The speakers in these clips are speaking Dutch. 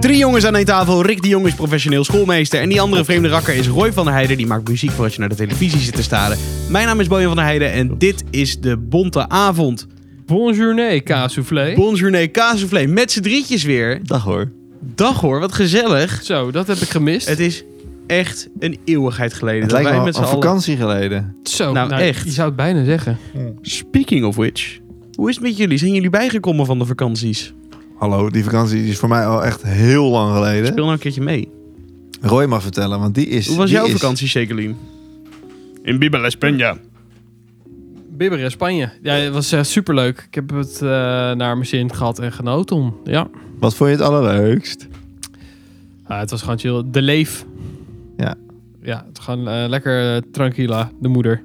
Drie jongens aan één tafel. Rick de Jong is professioneel schoolmeester. En die andere vreemde rakker is Roy van der Heijden. Die maakt muziek voor als je naar de televisie zit te staren. Mijn naam is Bojan van der Heijden en dit is de Bonte Avond. Bonjournee, kaassoufflé. Bonjournee Kaasvlee met z'n drietjes weer. Dag hoor. Dag hoor, wat gezellig. Zo, dat heb ik gemist. Het is echt een eeuwigheid geleden Het dat lijkt wij wel met z'n een allen... vakantie geleden. Zo, nou, echt. Je zou het bijna zeggen. Speaking of which, hoe is het met jullie? Zijn jullie bijgekomen van de vakanties? Hallo, die vakantie die is voor mij al echt heel lang Speel geleden. nou een keertje mee. Roy mag vertellen, want die is... Hoe was die jouw is- vakantie, Jacqueline? In Bibel, España. Bibberen, Spanje. Ja, het was echt superleuk. Ik heb het eh, naar mijn zin gehad en genoten om. Ja. Wat vond je het allerleukst? Ah, het was gewoon chill. De leef. Ja. Ja, het was gewoon eh, lekker eh, tranquila, de moeder.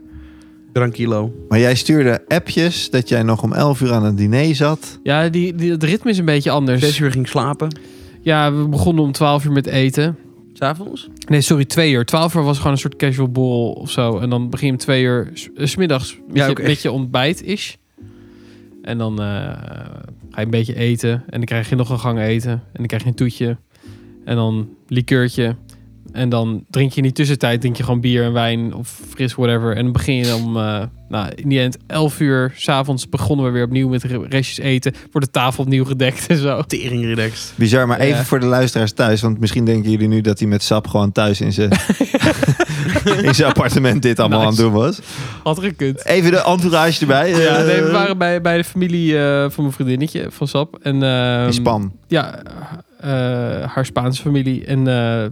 Tranquilo. Maar jij stuurde appjes dat jij nog om 11 uur aan het diner zat. Ja, die, die, het ritme is een beetje Zes anders. uur ging slapen. Ja, we begonnen om 12 uur met eten. S'avonds? Nee, sorry, twee uur. Twaalf uur was gewoon een soort casual borrel of zo. En dan begin je om twee uur s- eh, 's middags met, Ja, je, oké. met je ontbijt is. En dan eh, ga je een beetje eten. En dan krijg je nog een gang eten. En dan krijg je een toetje. En dan likeurtje. En dan drink je in die tussentijd drink je gewoon bier en wijn of fris, whatever. En dan begin je om, eh, nou, in die end, elf uur s'avonds begonnen we weer opnieuw met re- restjes eten. Wordt de tafel opnieuw gedekt en zo. Tering relaxed. Bizar, maar even Ja. voor de luisteraars thuis. Want misschien denken jullie nu dat hij met Sap gewoon thuis in zijn, in zijn appartement dit allemaal Nice. aan het doen was. Had gekund. Even de entourage erbij. Ja, Eh, nee, we waren bij, bij de familie eh, van mijn vriendinnetje van Sap. En, ehm, die span. Ja, eh, haar Spaanse familie. En eh,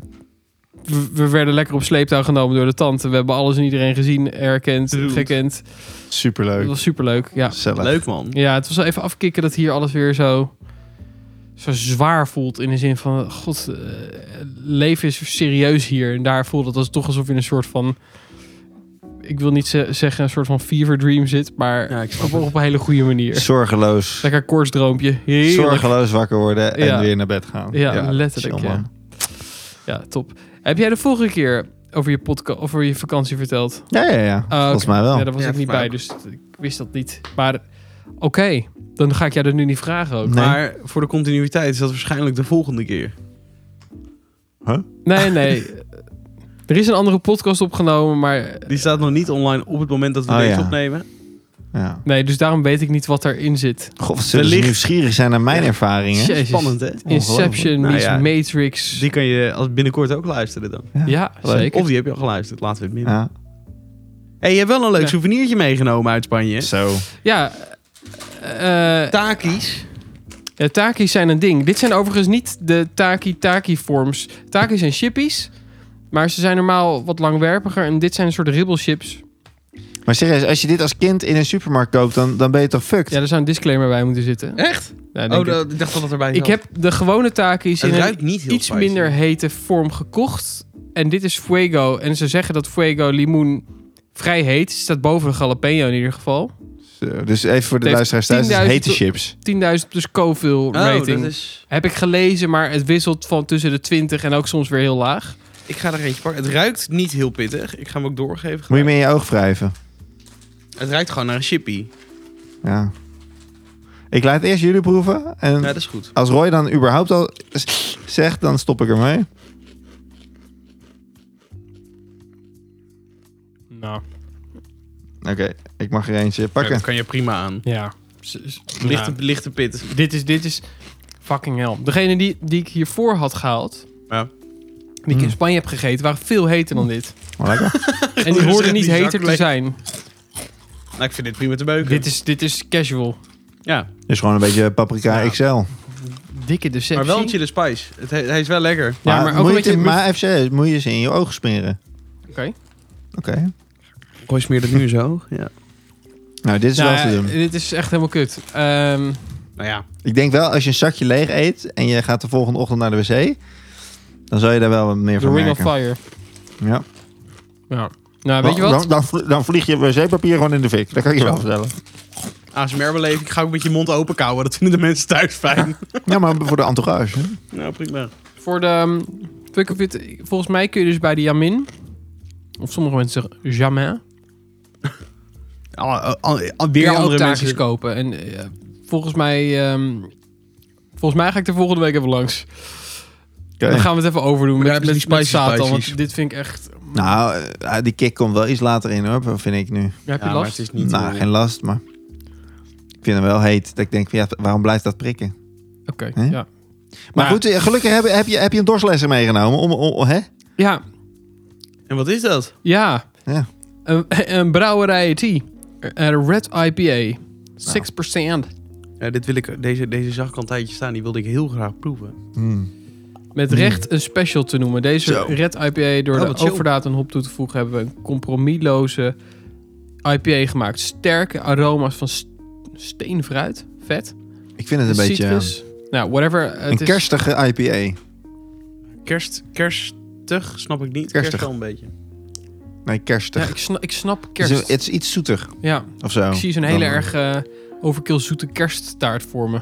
we, we werden lekker op sleeptouw genomen door de tante. We hebben alles en iedereen gezien, erkend, Goed. gekend. Het Superleuk. was superleuk, ja. Gezellig. Leuk man. Ja, het was wel even afkicken dat hier alles weer zo, zo zwaar voelt. In de zin van, god, eh, leven is serieus hier. En daar voelt het als, toch alsof je in een soort van... Ik wil niet ze- zeggen een soort van fever dream zit, maar Ja, ik snap op, het. op een hele goede manier. Zorgeloos. Lekker koortsdroompje. Heerlijk. Zorgeloos wakker worden en Ja. weer naar bed gaan. Ja, letterlijk, chill, ja. man. Ja, top. Heb jij de vorige keer over je, podca- of over je vakantie verteld? Ja, ja, ja. Ah, Volgens oké. mij wel. Ja, daar was Ja, ik niet bij, dus ik wist dat niet. Maar oké, dan ga ik jou dat nu niet vragen ook. Nee. Maar voor de continuïteit is dat waarschijnlijk de volgende keer. Nee, nee. er is een andere podcast opgenomen, maar... Die staat nog niet online op het moment dat we Oh, deze ja. opnemen. Ja. Nee, dus daarom weet ik niet wat daarin zit. God, wat zullen ze Wellicht- nieuwsgierig zijn naar mijn Ja. ervaringen? Jezus. Spannend hè? Inception, Nou meets ja. Matrix. Die kan je als binnenkort ook luisteren dan. Ja, zeker. Of die heb je al geluisterd, laten we het midden. Ja. hey, je hebt wel een leuk Ja. souvenirtje meegenomen uit Spanje. Zo. Ja, eh, Takis. ja, Eh, taki's zijn een ding. Dit zijn overigens niet de taki-taki-vorms. Taki's zijn chippies, maar ze zijn normaal wat langwerpiger. En dit zijn een soort ribbelchips. Maar serieus, als je dit als kind in een supermarkt koopt, dan, dan ben je toch fucked? Ja, er zou een disclaimer bij moeten zitten. Echt? Ja, oh, denk ik. dat, ik dacht dat dat erbij ik zat. heb de gewone taki's Het in ruikt een niet heel iets spicy. minder hete vorm gekocht. En dit is Fuego. En ze zeggen dat Fuego limoen vrij heet is. Staat boven de jalapeno in ieder geval. 10.000 Zo, Dus even voor de Het heeft luisteraars thuis, het is 10.000 hete chips. plus Scoville Oh, dat rating. is... Heb ik gelezen, maar het wisselt van tussen de 20 en ook soms weer heel laag. Ik ga er eentje pakken. Het ruikt niet heel pittig. Ik ga hem ook doorgeven. Moet je mee in je oog wrijven. Het ruikt gewoon naar een chippy. Ja. Ik laat eerst jullie proeven. En Ja, dat is goed. als Roy dan überhaupt al s- zegt, dan stop ik ermee. Nou, Oké, ik mag er eentje Ja, pakken. dat kan je prima aan. ja. S- s- Lichte, nou, lichte pit. dit, is, dit is fucking hell. Degene die, die ik hiervoor had gehaald... Ja. Die ik in Mm. Spanje heb gegeten, waren veel heter dan dit. Maar lekker. En die hoorden Zet niet die zak heter te leeg. zijn. Nou, ik vind dit prima te beuken. Dit is, dit is casual. Ja, is gewoon een beetje paprika Ja. XL. Dikke deceptie. maar wel een chili spice. Het, hij hij is wel lekker. Ja, maar, ook een moet je beetje... het- Oké. maar even serieus, moet je ze in je oog smeren. Oké. Roy smeert het nu zo. Ja. Nou, dit is Nou wel te ja, doen. dit is echt helemaal kut. Ehm, Nou ja, Ik denk wel, als je een zakje leeg eet en je gaat de volgende ochtend naar de wc, dan zal je daar wel wat meer the van Ring of merken. Fire. Ja. Ja. Nou, weet je wat? Dan, dan, vlie- dan vlieg je wc-papier gewoon in de fik. Dat kan ik je wel vertellen. ASMR-beleving. Ik ga ook met je mond open kauwen. Dat vinden de mensen thuis fijn. Ja, maar voor de entourage. hè? nou, prima. Voor de... ehm, Fuck of it, volgens mij kun je dus bij de Jamin... Of sommige mensen zeggen Jamin... weer ja, ook andere taartjes mensen. kopen. En eh, volgens mij... ehm, volgens mij ga ik er volgende week even langs. Dan gaan we het even overdoen Maar daar met, hebben met, ze die met spicy Satan. Want spices. dit vind ik echt... Nou, eh, die kick komt wel iets later in hoor, vind ik nu. Heb je Ja, maar last? het is niet... nou, eh, geen last, maar ik vind hem wel heet. Dat ik denk, van, ja, waarom blijft dat prikken? Oké, Hè? ja. Maar Ja. goed, eh, gelukkig heb, heb, je, heb je een dorslessen meegenomen. Om, om, om- hè? Ja, En wat is dat? ja. Ja. Een, een brouwerij tea. Een red IPA. Nou. 6%. Ja, dit wil ik, deze, deze zag ik al een tijdje staan. Die wilde ik heel graag proeven. Hmm. Met recht een special te noemen. Deze Zo. red IPA, door Oh, de wat chill. overdaad een hop toe te voegen, hebben we een compromisloze IPA gemaakt. Sterke aroma's van s- steenfruit. Vet. Ik vind het een beetje eh, citrus. Nou, whatever. Het een is- kerstige E. IPA. Kerst, kerstig snap ik niet. Kerstig. Kerst wel een beetje. Nee, Ja, kerstig. ik, snap, ik snap Het is- kerst. Het is iets zoeter Ja, of zo. ik zie zo'n hele Oh, Dan- erg eh, overkill zoete kersttaart voor me.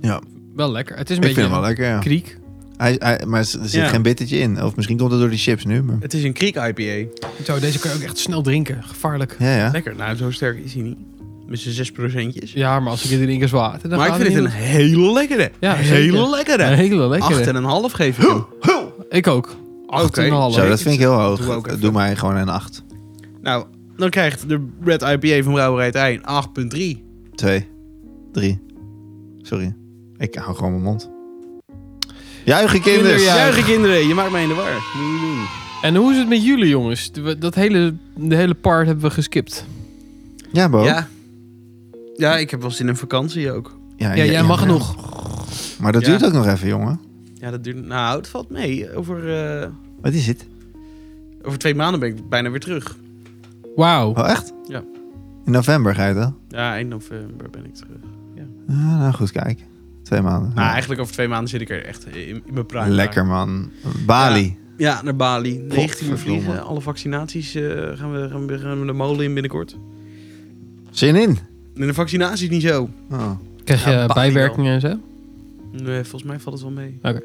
Ja. Wel lekker. Het is een Ik vind beetje hem wel lekker, ja. kriek. Hij, hij, maar er zit Ja. geen bittertje in. Of misschien komt het door die chips nu. Maar... Het is een kriek IPA. Zo, deze kan je ook echt snel drinken. Gevaarlijk. Ja, ja. Lekker. Nou, zo sterk is hij niet. Met zijn 6 procentjes. Ja, maar als ik dit in één keer zwaar. dan Maar ik gaat vind het een niet hele lekkere. Ja, hele zeker. lekkere. Een hele lekkere. Acht en een half geef ik hem. Ik ook. Acht en een half. Zo, dat vind ik heel hoog. Doe ook even. Doe mij gewoon een 8. Nou, dan krijgt de Red IPA van Brouwerij Tijn 8.3. 2, 3. Sorry. Ik hou gewoon mijn mond. Juichen, kinders! Kinderjuich. Juichen kinderen, je maakt mij in de war. Moet je niet doen. En hoe is het met jullie, jongens? De- Dat hele, de hele part hebben we geskipt. Ja, Bo. Ja. ja, ik heb wel zin in vakantie ook. Ja, jij mag ja. nog. Maar dat Ja. duurt ook nog even, jongen. Ja, dat duurt... Nou, het valt mee. Over, eh, Wat is het? over twee maanden ben ik bijna weer terug. Wauw. Oh, echt? Ja. In november ga je dan? Ja, eind november ben ik terug. Ja, nou, goed kijken. Twee maanden. Nou, Ja. eigenlijk over twee maanden zit ik er echt in, in mijn prime. Lekker, man. Bali. Ja, naar Bali. 19 uur Godverdomme. vliegen. Alle vaccinaties eh, gaan, we, gaan, we, gaan we de molen in binnenkort. Zin in? En de vaccinaties niet zo. Oh. Krijg je Ja, Bali bijwerkingen en zo? Nee, volgens mij valt het wel mee. Oké.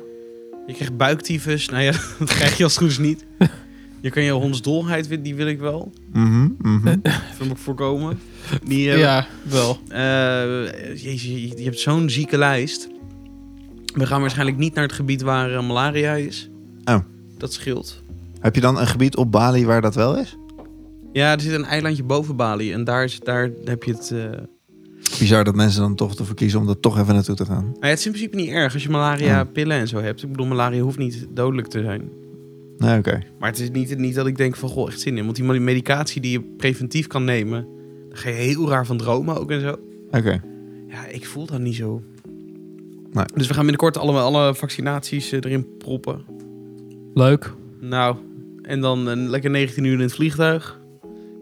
Je krijgt buiktyfus. Nou ja, dat krijg je als het goed is niet. Je kan je hondsdolheid, wi- die wil ik wel. Mhm, mhm. Dat wil ik voorkomen. Die, Ja, eh, wel. eh, jezus, je, je hebt zo'n zieke lijst. We gaan waarschijnlijk niet naar het gebied waar eh, malaria is. Oh. Dat scheelt. Heb je dan een gebied op Bali waar dat wel is? Ja, er zit een eilandje boven Bali. En daar, is, daar heb je het... eh, Nou Bizar dat mensen dan toch ervoor kiezen om er toch even naartoe te gaan. Nou ja, het is in principe niet erg als je malaria Ja. pillen en zo hebt. Ik bedoel, malaria hoeft niet dodelijk te zijn. Nee, oké. Maar het is niet, niet dat ik denk van, goh, echt zin in. Want die medicatie die je preventief kan nemen, daar ga je heel raar van dromen ook en zo. Oké. Ja, ik voel dat niet zo. Nee. Dus we gaan binnenkort alle, alle vaccinaties eh, erin proppen. Leuk. Nou, en dan een lekker 19 uur in het vliegtuig.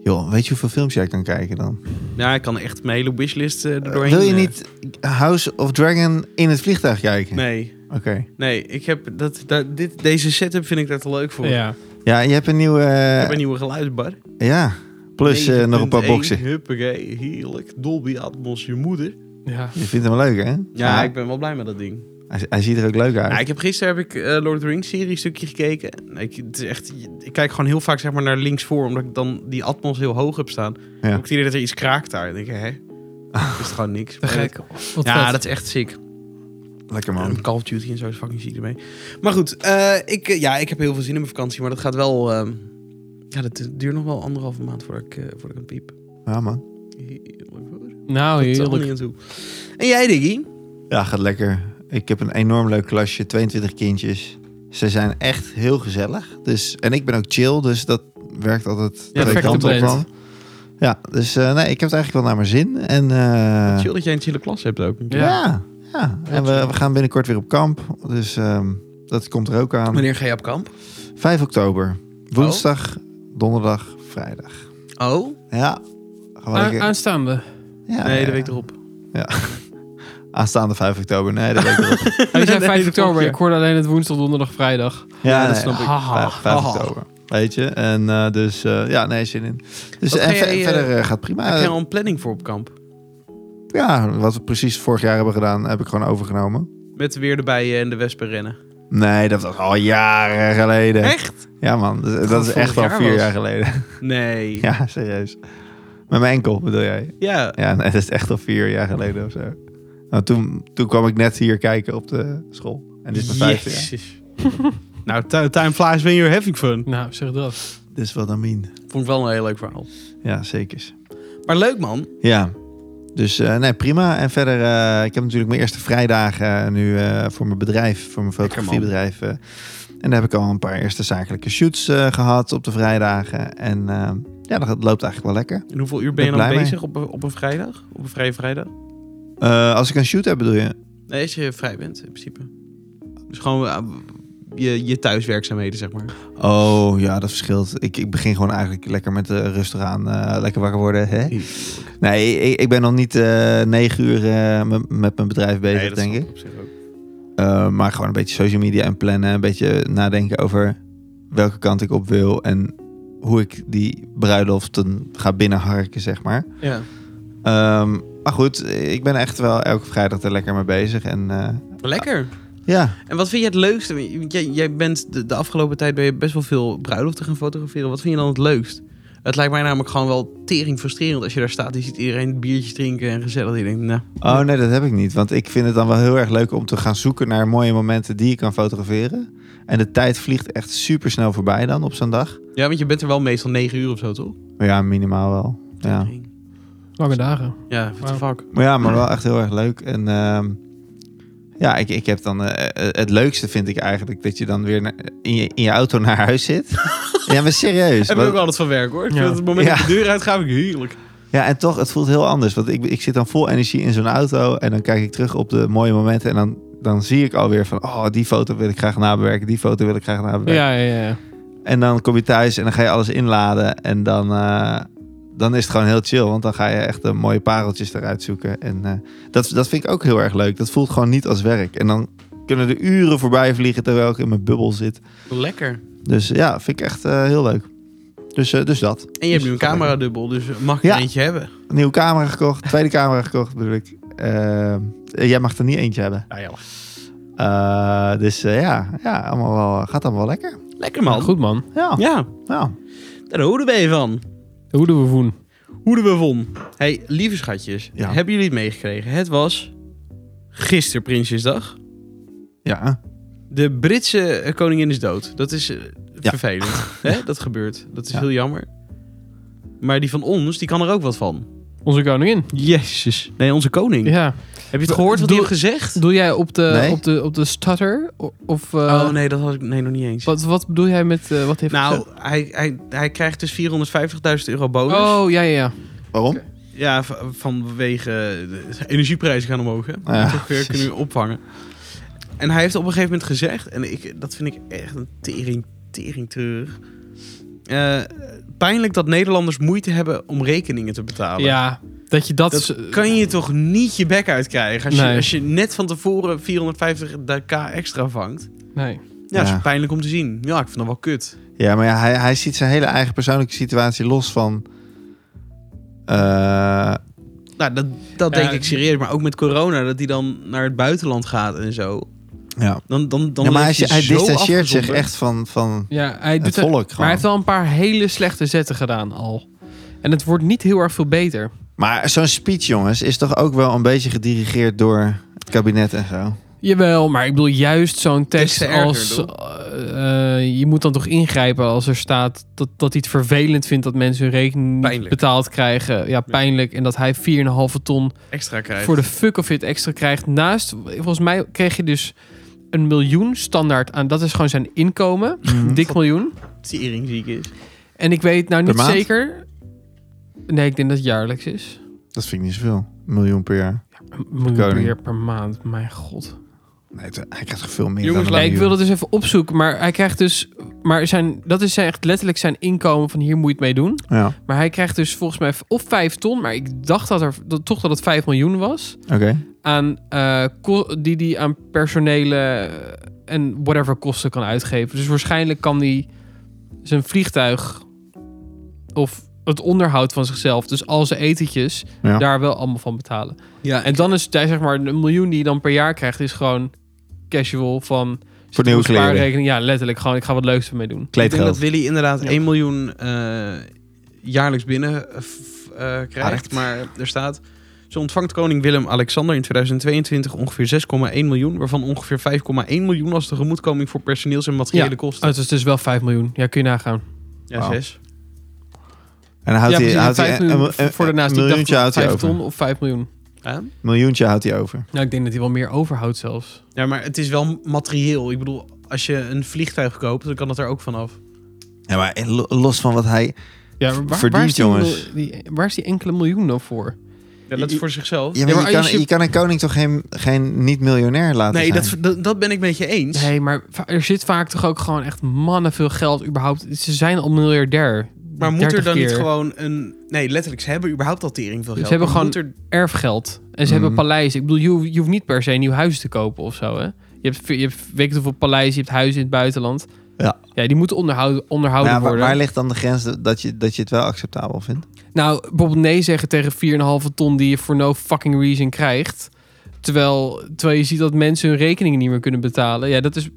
Joh, weet je hoeveel films jij kan kijken dan? Ja, ik kan echt mijn hele wishlist eh, er Eh, doorheen. Wil je eh, niet House of Dragon in het vliegtuig kijken? Nee, Oké. nee. Ik heb dat, dat, dit, deze setup vind ik daar te leuk voor. Ja. Ja, je hebt een nieuwe... eh, Ik heb een nieuwe geluidsbar. Ja. Plus eh, nog een paar 9.1, boxen. Huppakee, heerlijk. Dolby Atmos, je moeder. ja. Je vindt hem leuk, hè? Ja, Ah, ik ben wel blij met dat ding. hij, hij ziet er ook leuk uit. Ja, ik heb gisteren heb ik eh, Lord of the Rings serie stukje gekeken. Ik, het is echt, ik kijk gewoon heel vaak zeg maar, naar links voor, omdat ik dan die atmos heel hoog heb staan. Ja. Ik heb het idee dat er iets kraakt daar. Dan denk ik, hè? Dat is gewoon niks. Te Maar gek. Wat dat- Ja, vet. dat is echt sick. Lekker, man. En Call of Duty en zo is fucking ziek ermee. Maar goed, eh, ik, eh, ja, ik heb heel veel zin in mijn vakantie, maar dat gaat wel... ehm, ja, dat eh, duurt nog wel anderhalve maand voordat ik, eh, voordat ik een piep. Ja, man. Heerlijk hoor. nou, Dat is allemaal heerlijk. niet aan toe. En jij, Diggy? Ja, gaat lekker. Ik heb een enorm leuk klasje. 22 kindjes. Ze zijn echt heel gezellig. Dus, en ik ben ook chill, dus dat werkt altijd Ja, twee perfecte kanten op. blend. man. Ja, dus eh, nee, ik heb het eigenlijk wel naar mijn zin. En, eh, Chill dat jij een chille klas hebt ook. Ja. Ja. ja. En we, we gaan binnenkort weer op kamp. Dus ehm, dat komt er ook aan. Wanneer ga je op kamp? 5 oktober. Woensdag, donderdag, vrijdag. Oh? Ja. Gaan we A- lekker- aanstaande. ja, Ah, nee, ja, de week ja. erop. Aanstaande 5 oktober. Nee, de week erop. Hij zei Nee, 5 dat klopt, oktober. ja. Ik hoorde alleen het woensdag, donderdag, vrijdag. Ja, dat nee, snap ik. Haha. 5, 5 Ah. oktober. Weet je? En eh, dus, eh, ja, nee, zin in. Dus Wat en ga ver- jij, eh, verder eh, gaat prima. heb je al een planning voor op kamp? Ja, wat we precies vorig jaar hebben gedaan, heb ik gewoon overgenomen. Met weer de bijen en de wespen rennen. Nee, dat was al jaren geleden. Echt? Ja, man. Dat, dat is vorig echt al jaar vier was. jaar geleden. Nee. Ja. ja, serieus. Met mijn enkel, bedoel jij? Ja, nee, dat is echt al vier jaar geleden of zo. Nou, toen, toen kwam ik net hier kijken op de school. En dit is mijn vijfde. ja. Jezus. nou, ti- time flies when you're having fun. Nou, zeg dat. Dit is wat I mean. Vond ik wel een heel leuk verhaal. Ja, zeker. Maar leuk man. Ja. Dus eh, nee, prima. En verder, eh, ik heb natuurlijk mijn eerste vrijdagen eh, nu eh, voor mijn bedrijf, voor mijn Lekker, man. fotografiebedrijf. eh. en daar heb ik al een paar eerste zakelijke shoots eh, gehad op de vrijdagen. En eh, ja, dat loopt eigenlijk wel lekker. En hoeveel uur ben Ben je dan blij mee. bezig op, een- op een vrijdag? Op een vrije vrijdag? Eh, als ik een shoot heb, bedoel je? Nee, als je vrij bent in principe. Dus gewoon eh, je, je thuiswerkzaamheden, zeg maar. Oh ja, dat verschilt. Ik, ik begin gewoon eigenlijk lekker met eh, rustig aan, eh, lekker wakker worden. Hè? Nee, ik, ik ben nog niet eh, negen uur eh, met- met mijn bedrijf bezig, dat denk snap ik. Op zich ook. Eh, maar gewoon een beetje social media en plannen. Een beetje nadenken over welke kant ik op wil. En hoe ik die bruiloften ga binnenharken, zeg maar. Ja. Ehm, maar goed, ik ben echt wel elke vrijdag er lekker mee bezig. En eh, Lekker. ja, En wat vind je het leukste? Want Jij, jij bent de, de afgelopen tijd ben je best wel veel bruiloften gaan fotograferen. Wat vind je dan het leukst? Het lijkt mij namelijk gewoon wel tering frustrerend als je daar staat. Je ziet iedereen biertjes drinken en gezellig. En je denkt, nou, oh nee, dat heb ik niet. Want ik vind het dan wel heel erg leuk om te gaan zoeken naar mooie momenten die je kan fotograferen. En de tijd vliegt echt super snel voorbij dan op zo'n dag. Ja, want je bent er wel meestal negen uur of zo, toch? Maar ja, minimaal wel. Ja. Lange dagen. Ja, what the fuck. Maar ja, maar wel echt heel erg leuk. En ehm, ja, ik, ik heb dan... eh, eh, het leukste vind ik eigenlijk dat je dan weer na- in, je, in je auto naar huis zit. ja, maar serieus. Heb ik want- ook altijd van werk, hoor. Ik Ja. vind het het moment dat Ja. ik de deur uitga, vind ik heerlijk. ja, en toch, het voelt heel anders. Want ik, ik zit dan vol energie in zo'n auto en dan kijk ik terug op de mooie momenten en dan... Dan zie ik alweer van, oh, die foto wil ik graag nabewerken, die foto wil ik graag nabewerken. Ja, ja, ja. En dan kom je thuis en dan ga je alles inladen. En dan, eh, dan is het gewoon heel chill. Want dan ga je echt de mooie pareltjes eruit zoeken. En eh, dat, dat vind ik ook heel erg leuk. Dat voelt gewoon niet als werk. En dan kunnen de uren voorbij vliegen terwijl ik in mijn bubbel zit. Lekker. Dus ja, vind ik echt eh, heel leuk. Dus, eh, dus dat. En je hebt nu een Dus- camera dubbel, dus mag ik er Ja. eentje hebben? Nieuwe camera gekocht, tweede camera gekocht bedoel ik. Eh, jij mag er niet eentje hebben. Nou ja, Eh, dus eh, ja, ja allemaal wel, gaat allemaal wel lekker. lekker man. Goed, man. Ja, ja. Ja, daar houden we je van. Hoe doen we voen? Hoe de we won. Hey, lieve schatjes, Ja. hebben jullie het meegekregen? Het was gisteren Prinsjesdag. ja. De Britse eh, koningin is dood. Dat is eh, Ja. vervelend. Hè? Dat gebeurt. Dat is Ja. heel jammer. Maar die van ons, die kan er ook wat van. Onze koningin. Jezus. Nee, onze koning. Ja. Heb je het gehoord wat hij Doe- heeft gezegd? Doe jij op de, Nee. op de, op de stutter? O- Of, eh, oh nee, dat had ik nee, nog niet eens. wat, wat bedoel jij met eh, wat heeft Nou, gezegd? hij, hij, hij krijgt dus 450.000 euro bonus. Oh, ja, ja, ja. Waarom? Ja, v- vanwege de energieprijzen gaan omhoog. Hè? Ja, Dat weer kunnen we opvangen. En hij heeft op een gegeven moment gezegd, en ik, dat vind ik echt een tering, tering terug. eh, pijnlijk dat Nederlanders moeite hebben om rekeningen te betalen. Ja, dat je dat... Dat z- kan je toch niet je bek uitkrijgen als, je, Nee. als je net van tevoren 450k extra vangt. Nee. Ja, dat Ja. is pijnlijk om te zien. Ja, ik vind dat wel kut. Ja, maar ja, hij, hij ziet zijn hele eigen persoonlijke situatie los van. eh, Nou, dat, dat Ja, denk ik serieus. Maar ook met corona, dat hij dan naar het buitenland gaat en zo. ja. Dan, dan, dan ja, maar hij, leef je hij zo distancieert zich afgezonderd. echt van, van Ja, hij doet het het- volk. Maar Gewoon. hij heeft wel een paar hele slechte zetten gedaan al. En het wordt niet heel erg veel beter. Maar zo'n speech, jongens, is toch ook wel een beetje gedirigeerd door het kabinet en zo. Jawel, maar ik bedoel juist zo'n Des te tekst erger, als... doe. eh, eh, je moet dan toch ingrijpen als er staat dat, dat hij het vervelend vindt... dat mensen hun rekening niet Pijnlijk. betaald krijgen. Ja, pijnlijk. En dat hij 4,5 ton extra krijgt. voor de fuck of it extra krijgt. Naast, volgens mij kreeg je dus een miljoen standaard aan. Dat is gewoon zijn inkomen. Dik miljoen. teringziek is. En ik weet nou Per niet maand? zeker... Nee, ik denk dat het jaarlijks is. Dat vind ik niet zoveel. Een miljoen per jaar. Een miljoen Koning. per, per maand, mijn god. Nee, het- hij krijgt toch veel meer Jongens, dan Ja, een ik miljoen. wil dat dus even opzoeken, maar hij krijgt dus... Maar zijn, dat is zijn echt letterlijk zijn inkomen van hier moet je het mee doen. Ja, Maar hij krijgt dus volgens mij of 5 ton, maar ik dacht dat er, dat, toch dat het 5 miljoen was. oké. Aan, eh, ko- die die hij aan personele eh, en whatever kosten kan uitgeven. Dus waarschijnlijk kan hij zijn vliegtuig of het onderhoud van zichzelf, dus al zijn etentjes, Ja. daar wel allemaal van betalen. Ja, En en dan is het, zeg maar, een miljoen die je dan per jaar krijgt, is gewoon casual van... Voor nieuwe kleren. spaarrekening. Ja, letterlijk. Gewoon, ik ga wat leuks ermee doen. ik denk dat Kleedgeld. Willy inderdaad Ja. 1 miljoen eh, jaarlijks binnen eh, f- eh, krijgt. Aardig. Maar er staat Zo ontvangt koning Willem-Alexander in 2022 ongeveer 6,1 miljoen, waarvan ongeveer 5,1 miljoen als tegemoetkoming voor personeels- en materiële Ja, kosten. Oh, het is dus wel 5 miljoen. Ja, kun je nagaan. ja, Wauw. 6. En dan houdt ja, hij, houdt hij vijf een, miljoen een- voor daarnaast. een Ik dacht miljoentje houdt hij 5 over. ton of 5 miljoen. miljoentje houdt hij over. Nou, ik denk dat hij wel meer overhoudt zelfs. Ja, maar het is wel materieel. Ik bedoel, als je een vliegtuig koopt, dan kan dat er ook vanaf. Ja, maar lo- los van wat hij... Ja, maar waar, Verdiend, waar is die, jongens. mil- die- waar is die enkele miljoen nou voor? Ja, dat is voor zichzelf. Ja, maar maar je, kan, als je- je kan een koning toch geen, geen niet-miljonair laten nee, zijn? dat, dat, dat ben ik met je eens. Nee, maar va- er zit vaak toch ook gewoon echt mannen veel geld überhaupt. Ze zijn al miljardair. maar moet er 30 dan niet keer gewoon een... Nee, letterlijk, ze hebben überhaupt al tering veel Ze geld. hebben Maar gewoon- moet er- erfgeld? En ze Mhm. hebben paleizen. Ik bedoel, je, hoeft- je hoeft niet per se een nieuw huis te kopen of zo, hè? Je hebt, je hebt weet ik hoeveel paleizen, je hebt huizen in het buitenland. Ja. Ja, die moeten onderhouden, onderhouden Maar ja, worden. waar, Nou, waar ligt dan de grens dat je, dat je het wel acceptabel vindt? Nou, bijvoorbeeld nee zeggen tegen 4,5 ton die je voor no fucking reason krijgt. Terwijl, terwijl je ziet dat mensen hun rekeningen niet meer kunnen betalen. Ja, dat is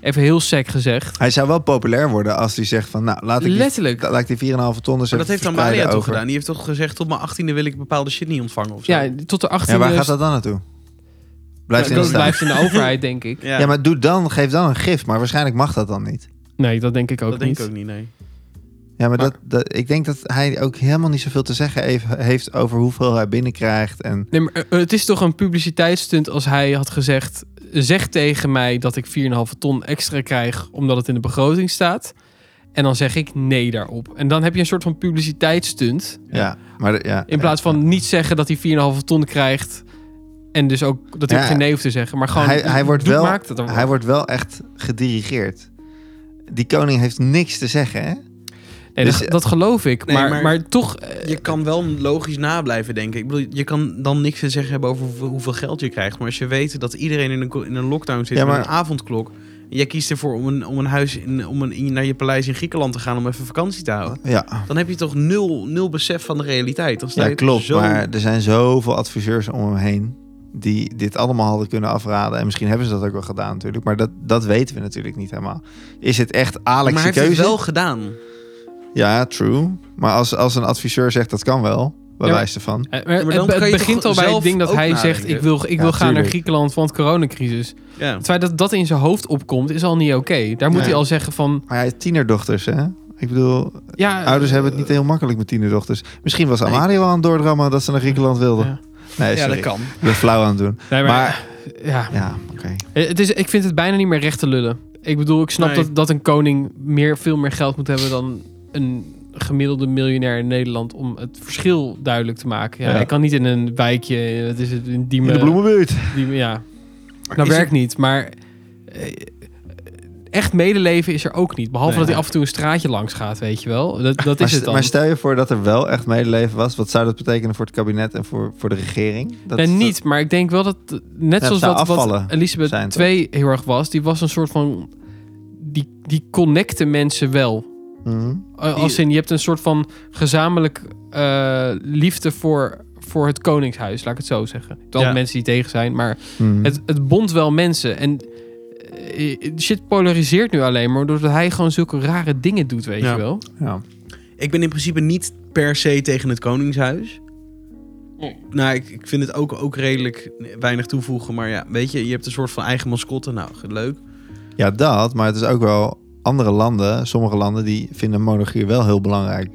even heel sec gezegd. Hij zou wel populair worden als hij zegt van... Nou, laat ik die, Letterlijk. laat ik die 4,5 ton dus Maar dat heeft dan Malia over. toch gedaan? Die heeft toch gezegd, tot mijn achttiende wil ik bepaalde shit niet ontvangen of zo? Ja, tot de 18e. Ja, waar gaat dat dan naartoe? Blijft Ja, in de dat staat. blijft in de overheid, denk ik. Ja, Ja, maar doe dan, geef dan een gift. Maar waarschijnlijk mag dat dan niet. Nee, dat denk ik ook dat niet. denk ik ook niet, nee. Ja, maar, Maar- Dat, dat, ik denk dat hij ook helemaal niet zoveel te zeggen heeft, heeft over hoeveel hij binnenkrijgt. En Nee, maar eh, het is toch een publiciteitsstunt als hij had gezegd... zeg tegen mij dat ik 4,5 ton extra krijg omdat het in de begroting staat. En dan zeg ik nee daarop. En dan heb je een soort van publiciteitsstunt. ja, maar de- ja. In plaats van niet zeggen dat hij 4,5 ton krijgt... en dus ook dat hij Ja, ook geen nee hoeft te zeggen. Maar gewoon, hij, hij, wordt doet- wel, maakt het dan wel. hij wordt wel echt gedirigeerd. Die koning heeft niks te zeggen, hè? Nee, dus- dat, dat geloof ik. Nee, maar, maar- maar, toch... eh, Je kan wel logisch nablijven, denk ik. Ik bedoel, je kan dan niks te zeggen hebben over hoeveel- hoeveel geld je krijgt. Maar als je weet dat iedereen in een, ko- in een lockdown zit Ja, maar- met een avondklok... en jij kiest ervoor om een, om een huis in, om een, in- naar je paleis in Griekenland te gaan om even vakantie te houden... Ja, dan heb je toch nul, nul besef van de realiteit. Dan sta ja je klopt. Zo... Maar er zijn zoveel adviseurs om hem heen die dit allemaal hadden kunnen afraden. En misschien hebben ze dat ook wel gedaan natuurlijk. Maar dat, dat weten we natuurlijk niet helemaal. Is het echt maar Alex' hij heeft keuze? het wel gedaan. Ja, true. Maar als, als een adviseur zegt dat kan wel, bij Ja, wijze van. eh, Ja, maar dan het, kan het je begint toch al bij zelf het ding dat ook hij zegt... nadenken? ik wil, ik wil Ja, gaan naar tuurlijk. Griekenland, want coronacrisis. Ja. Het feit dat dat in zijn hoofd opkomt, is al niet oké. Daar moet Nee. hij al zeggen van... Maar hij heeft tienerdochters, hè? Ik bedoel, Eh, Ja, ouders hebben het niet heel makkelijk met tienerdochters. Misschien was Amalia wel aan het doordrammen dat ze naar Griekenland wilde. Ja. Nee, sorry. kan. Ik ben flauw aan het doen. Nee, maar, Maar, ja. ja, oké. Het is, ik vind het bijna niet meer recht te lullen. Ik bedoel, ik snap Nee. dat, dat een koning meer, veel meer geld moet hebben dan een gemiddelde miljonair in Nederland om het verschil duidelijk te maken. Ja, Ja. Hij kan niet in een wijkje, wat is het, in In Diemen. de bloemenbuurt. Diemen, ja. is Dat werkt niet, maar eh, echt medeleven is er ook niet. Behalve Nee. dat hij af en toe een straatje langs gaat, weet je wel. Dat, dat Maar, is het st- dan. maar stel je voor dat er wel echt medeleven was. Wat zou dat betekenen voor het kabinet en voor, voor de regering? Dat, nee, dat- niet, maar ik denk wel dat eh, net het zoals zou wat, wat afvallen zijn, Elisabeth toch? II heel erg was, die was een soort van die die connecten mensen wel. Mhm. Eh, Als in je hebt een soort van gezamenlijk eh, liefde voor voor het koningshuis, laat ik het zo zeggen. Dan Ja. mensen die tegen zijn, maar Mhm. het, het bond wel mensen en eh, shit polariseert nu alleen maar doordat hij gewoon zulke rare dingen doet, weet Ja. je wel. Ja. Ik ben in principe niet per se tegen het Koningshuis. Nou, ik, ik vind het ook, ook redelijk weinig toevoegen. Maar ja, weet je, je hebt een soort van eigen mascotte. Nou, leuk. ja, dat. Maar het is ook wel andere landen. Sommige landen die vinden monarchie wel heel belangrijk.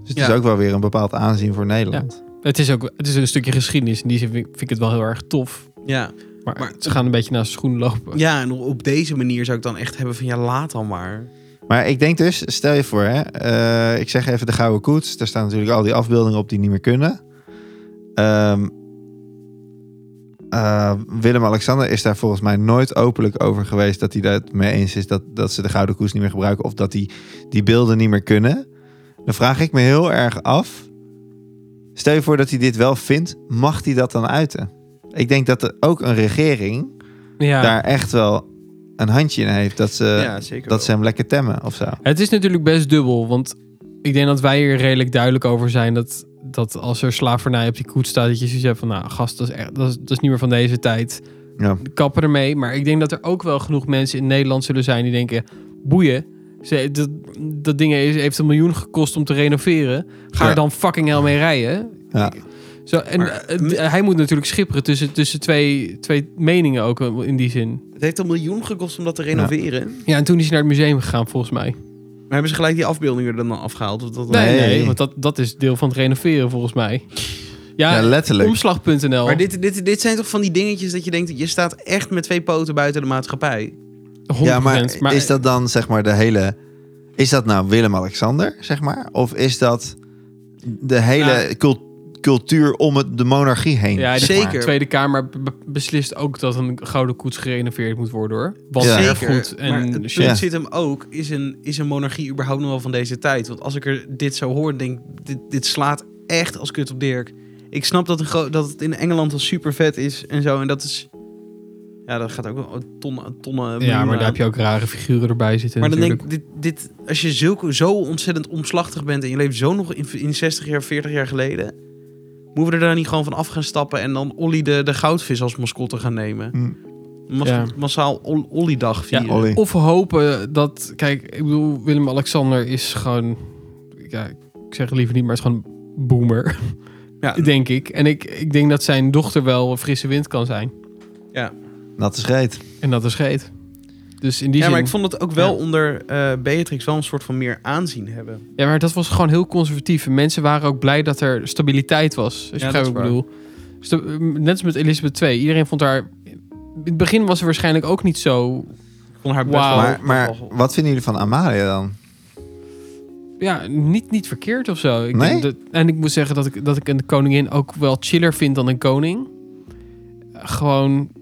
Dus het Ja. is ook wel weer een bepaald aanzien voor Nederland. Het is ook het is een stukje geschiedenis in die zin vind ik- vind ik het wel heel erg tof. Ja. Maar, Maar- ze gaan een beetje naast de schoen lopen. ja, en op deze manier zou ik dan echt hebben van ja, laat dan maar. Maar ik denk dus, stel je voor, hè, eh, ik zeg even de gouden koets. Daar staan natuurlijk al die afbeeldingen op die niet meer kunnen. Ehm, eh, Willem-Alexander is daar volgens mij nooit openlijk over geweest dat hij het mee eens is dat, dat ze de gouden koets niet meer gebruiken of dat die, die beelden niet meer kunnen. Dan vraag ik me heel erg af. Stel je voor dat hij dit wel vindt, mag hij dat dan uiten? Ik denk dat er ook een regering Ja. daar echt wel een handje in heeft dat ze, Eh, ja, zeker. dat ze hem lekker temmen of zo. Het is natuurlijk best dubbel, want ik denk dat wij hier redelijk duidelijk over zijn dat, dat als er slavernij op die koets staat, dat je zoiets hebt van, nou gast, dat is, echt, dat, is, dat is niet meer van deze tijd. Ja. Kappen ermee. Maar ik denk dat er ook wel genoeg mensen in Nederland zullen zijn die denken, boeien, ze, dat, dat ding is- heeft een miljoen gekost om te renoveren. Ga Ja. er dan fucking hel mee rijden. Ja. Zo, en Maar, eh, d- hij moet natuurlijk schipperen tussen, tussen twee, twee meningen ook eh, in die zin. Het heeft al miljoen gekost om dat te renoveren. Ja, en toen is hij naar het museum gegaan volgens mij. Maar hebben ze gelijk die afbeeldingen er dan afgehaald? Of dat Nee, Nee. nee, want dat, dat is deel van het renoveren volgens mij. Ja, Ja, letterlijk. omslag.nl. Maar dit, dit, dit zijn toch van die dingetjes dat je denkt... je staat echt met twee poten buiten de maatschappij. 100%, Ja, maar is dat dan zeg maar de hele... Is dat nou Willem-Alexander, zeg maar? Of is dat de hele cul- cultuur om het, de monarchie heen? Ja, de zeg maar? zeker. Tweede Kamer be- be- beslist ook dat een gouden koets gerenoveerd moet worden hoor. Wat Ja. erg Zeker, goed maar en het punt shit. Ja. zit hem ook. Is een, is een monarchie überhaupt nog wel van deze tijd? Want als ik er dit zo hoor, denk ik, dit, dit slaat echt als kut op Dirk. Ik snap dat, een gro- dat het in Engeland al super vet is en zo. En dat is... Ja, dat gaat ook wel tonnen... tonnen Ja, maar daar heb je ook rare figuren erbij zitten nou. Maar dan denk natuurlijk. ik, dit, dit, als je zulke, zo ontzettend omslachtig bent en je leeft zo nog in, in 60 jaar, 40 jaar geleden, moeten we er dan niet gewoon van af gaan stappen en dan Olly de, de goudvis als mascotte gaan nemen? Hm. Mas- Ja. Massaal Ol- Olly-dag vieren. Ja, Olly. Of we hopen dat, kijk, ik bedoel, Willem-Alexander is gewoon, ja, ik zeg het liever niet, maar het is gewoon een boomer, Ja, denk ik. En ik, ik denk dat zijn dochter wel een frisse wind kan zijn. Natte scheet. En dat is geet. Dus in die ja, zin... maar ik vond het ook wel Ja. onder eh, Beatrix wel een soort van meer aanzien hebben. Ja, maar dat was gewoon heel conservatief. En mensen waren ook blij dat er stabiliteit was. Als je Ja, begrijpt dat wat ik bedoel. Sta- Net als met Elizabeth II. Iedereen vond haar... In het begin was ze waarschijnlijk ook niet zo... Ik vond haar best Wauw. wel... maar, maar wat vinden jullie van Amalia dan? Ja, niet, niet verkeerd of zo. Ik Nee? denk dat, en ik moet zeggen dat ik, dat ik een koningin ook wel chiller vind dan een koning. Gewoon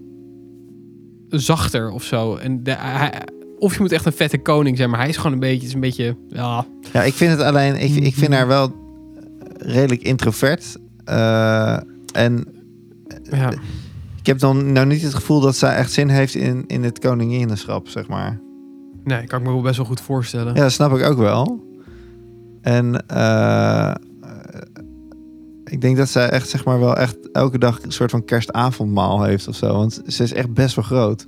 zachter of zo. En de- hij- of je moet echt een vette koning zijn, maar hij is gewoon een beetje... het Is een beetje ja, Ja, ik vind het alleen... Ik, ik vind haar wel redelijk introvert. Eh, en ja. ik heb dan nou niet het gevoel dat zij echt zin heeft in, in het koninginenschap, zeg maar. Nee, kan ik me wel best wel goed voorstellen. Ja, dat snap ik ook wel. En eh, eh, ik denk dat zij echt, zeg maar, wel echt elke dag een soort van kerstavondmaal heeft of zo. Want ze is echt best wel groot.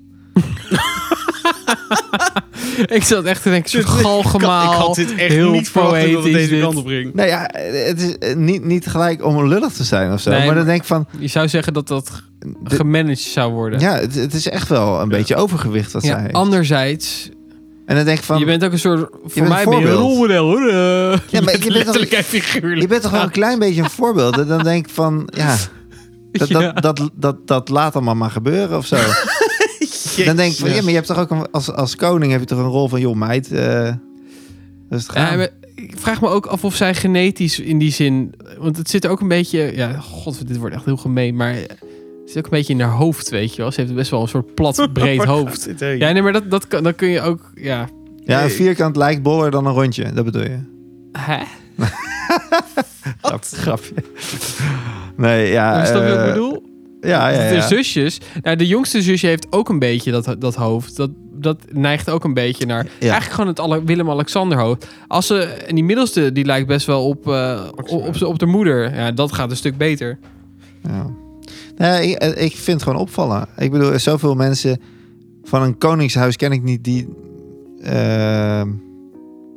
Ik zat echt te denken, een soort galgemaal. dit echt heel niet verwacht dat het poëtisch deze dit. kant op ging. Nou ja, het is eh, niet, niet gelijk om lullig te zijn of zo. Nee, maar dan maar- denk ik van, Je zou zeggen dat dat g- De- gemanaged zou worden. ja, het, het is echt wel een beetje overgewicht wat Ja, zij heeft. anderzijds, En dan denk ik van, je je bent, bent ook een soort... Voor een mij ben je een voorbeeld. rolmodel, hoor. Eh, je bent toch- letterlijk en figuurlijk. toch wel een klein beetje een voorbeeld. En dan denk ik van, ja, dat, Ja. dat, dat, dat, dat laat allemaal maar gebeuren of zo. Dan denk ik van, ja, maar je hebt toch ook een, als, als koning heb je toch een rol van, joh meid, eh dat is het Ja, gaan. maar ik vraag me ook af of zij genetisch in die zin... Want het zit ook een beetje... Ja, god, dit wordt echt heel gemeen, maar... Het zit ook een beetje in haar hoofd, weet je wel. Ze heeft best wel een soort plat, breed hoofd. Ja, nee, maar dat, dat, kan, dat kun je ook... Ja, Ja, een Nee. vierkant lijkt boller dan een rondje, dat bedoel je? hè? Grap, grapje. Nee, ja. Snap je wat eh, ik bedoel? Ja, ja, De ja. zusjes. Nou, de jongste zusje heeft ook een beetje dat, dat hoofd. Dat, dat neigt ook een beetje naar. Eigenlijk gewoon het alle- Willem-Alexander hoofd. Als ze, en die middelste, die lijkt best wel op, eh, op, op, z'n- op de moeder. Ja, dat gaat een stuk beter. Ja. Nee, ik, ik vind het gewoon opvallen. Ik bedoel, er zoveel mensen van een koningshuis ken ik niet die ehm,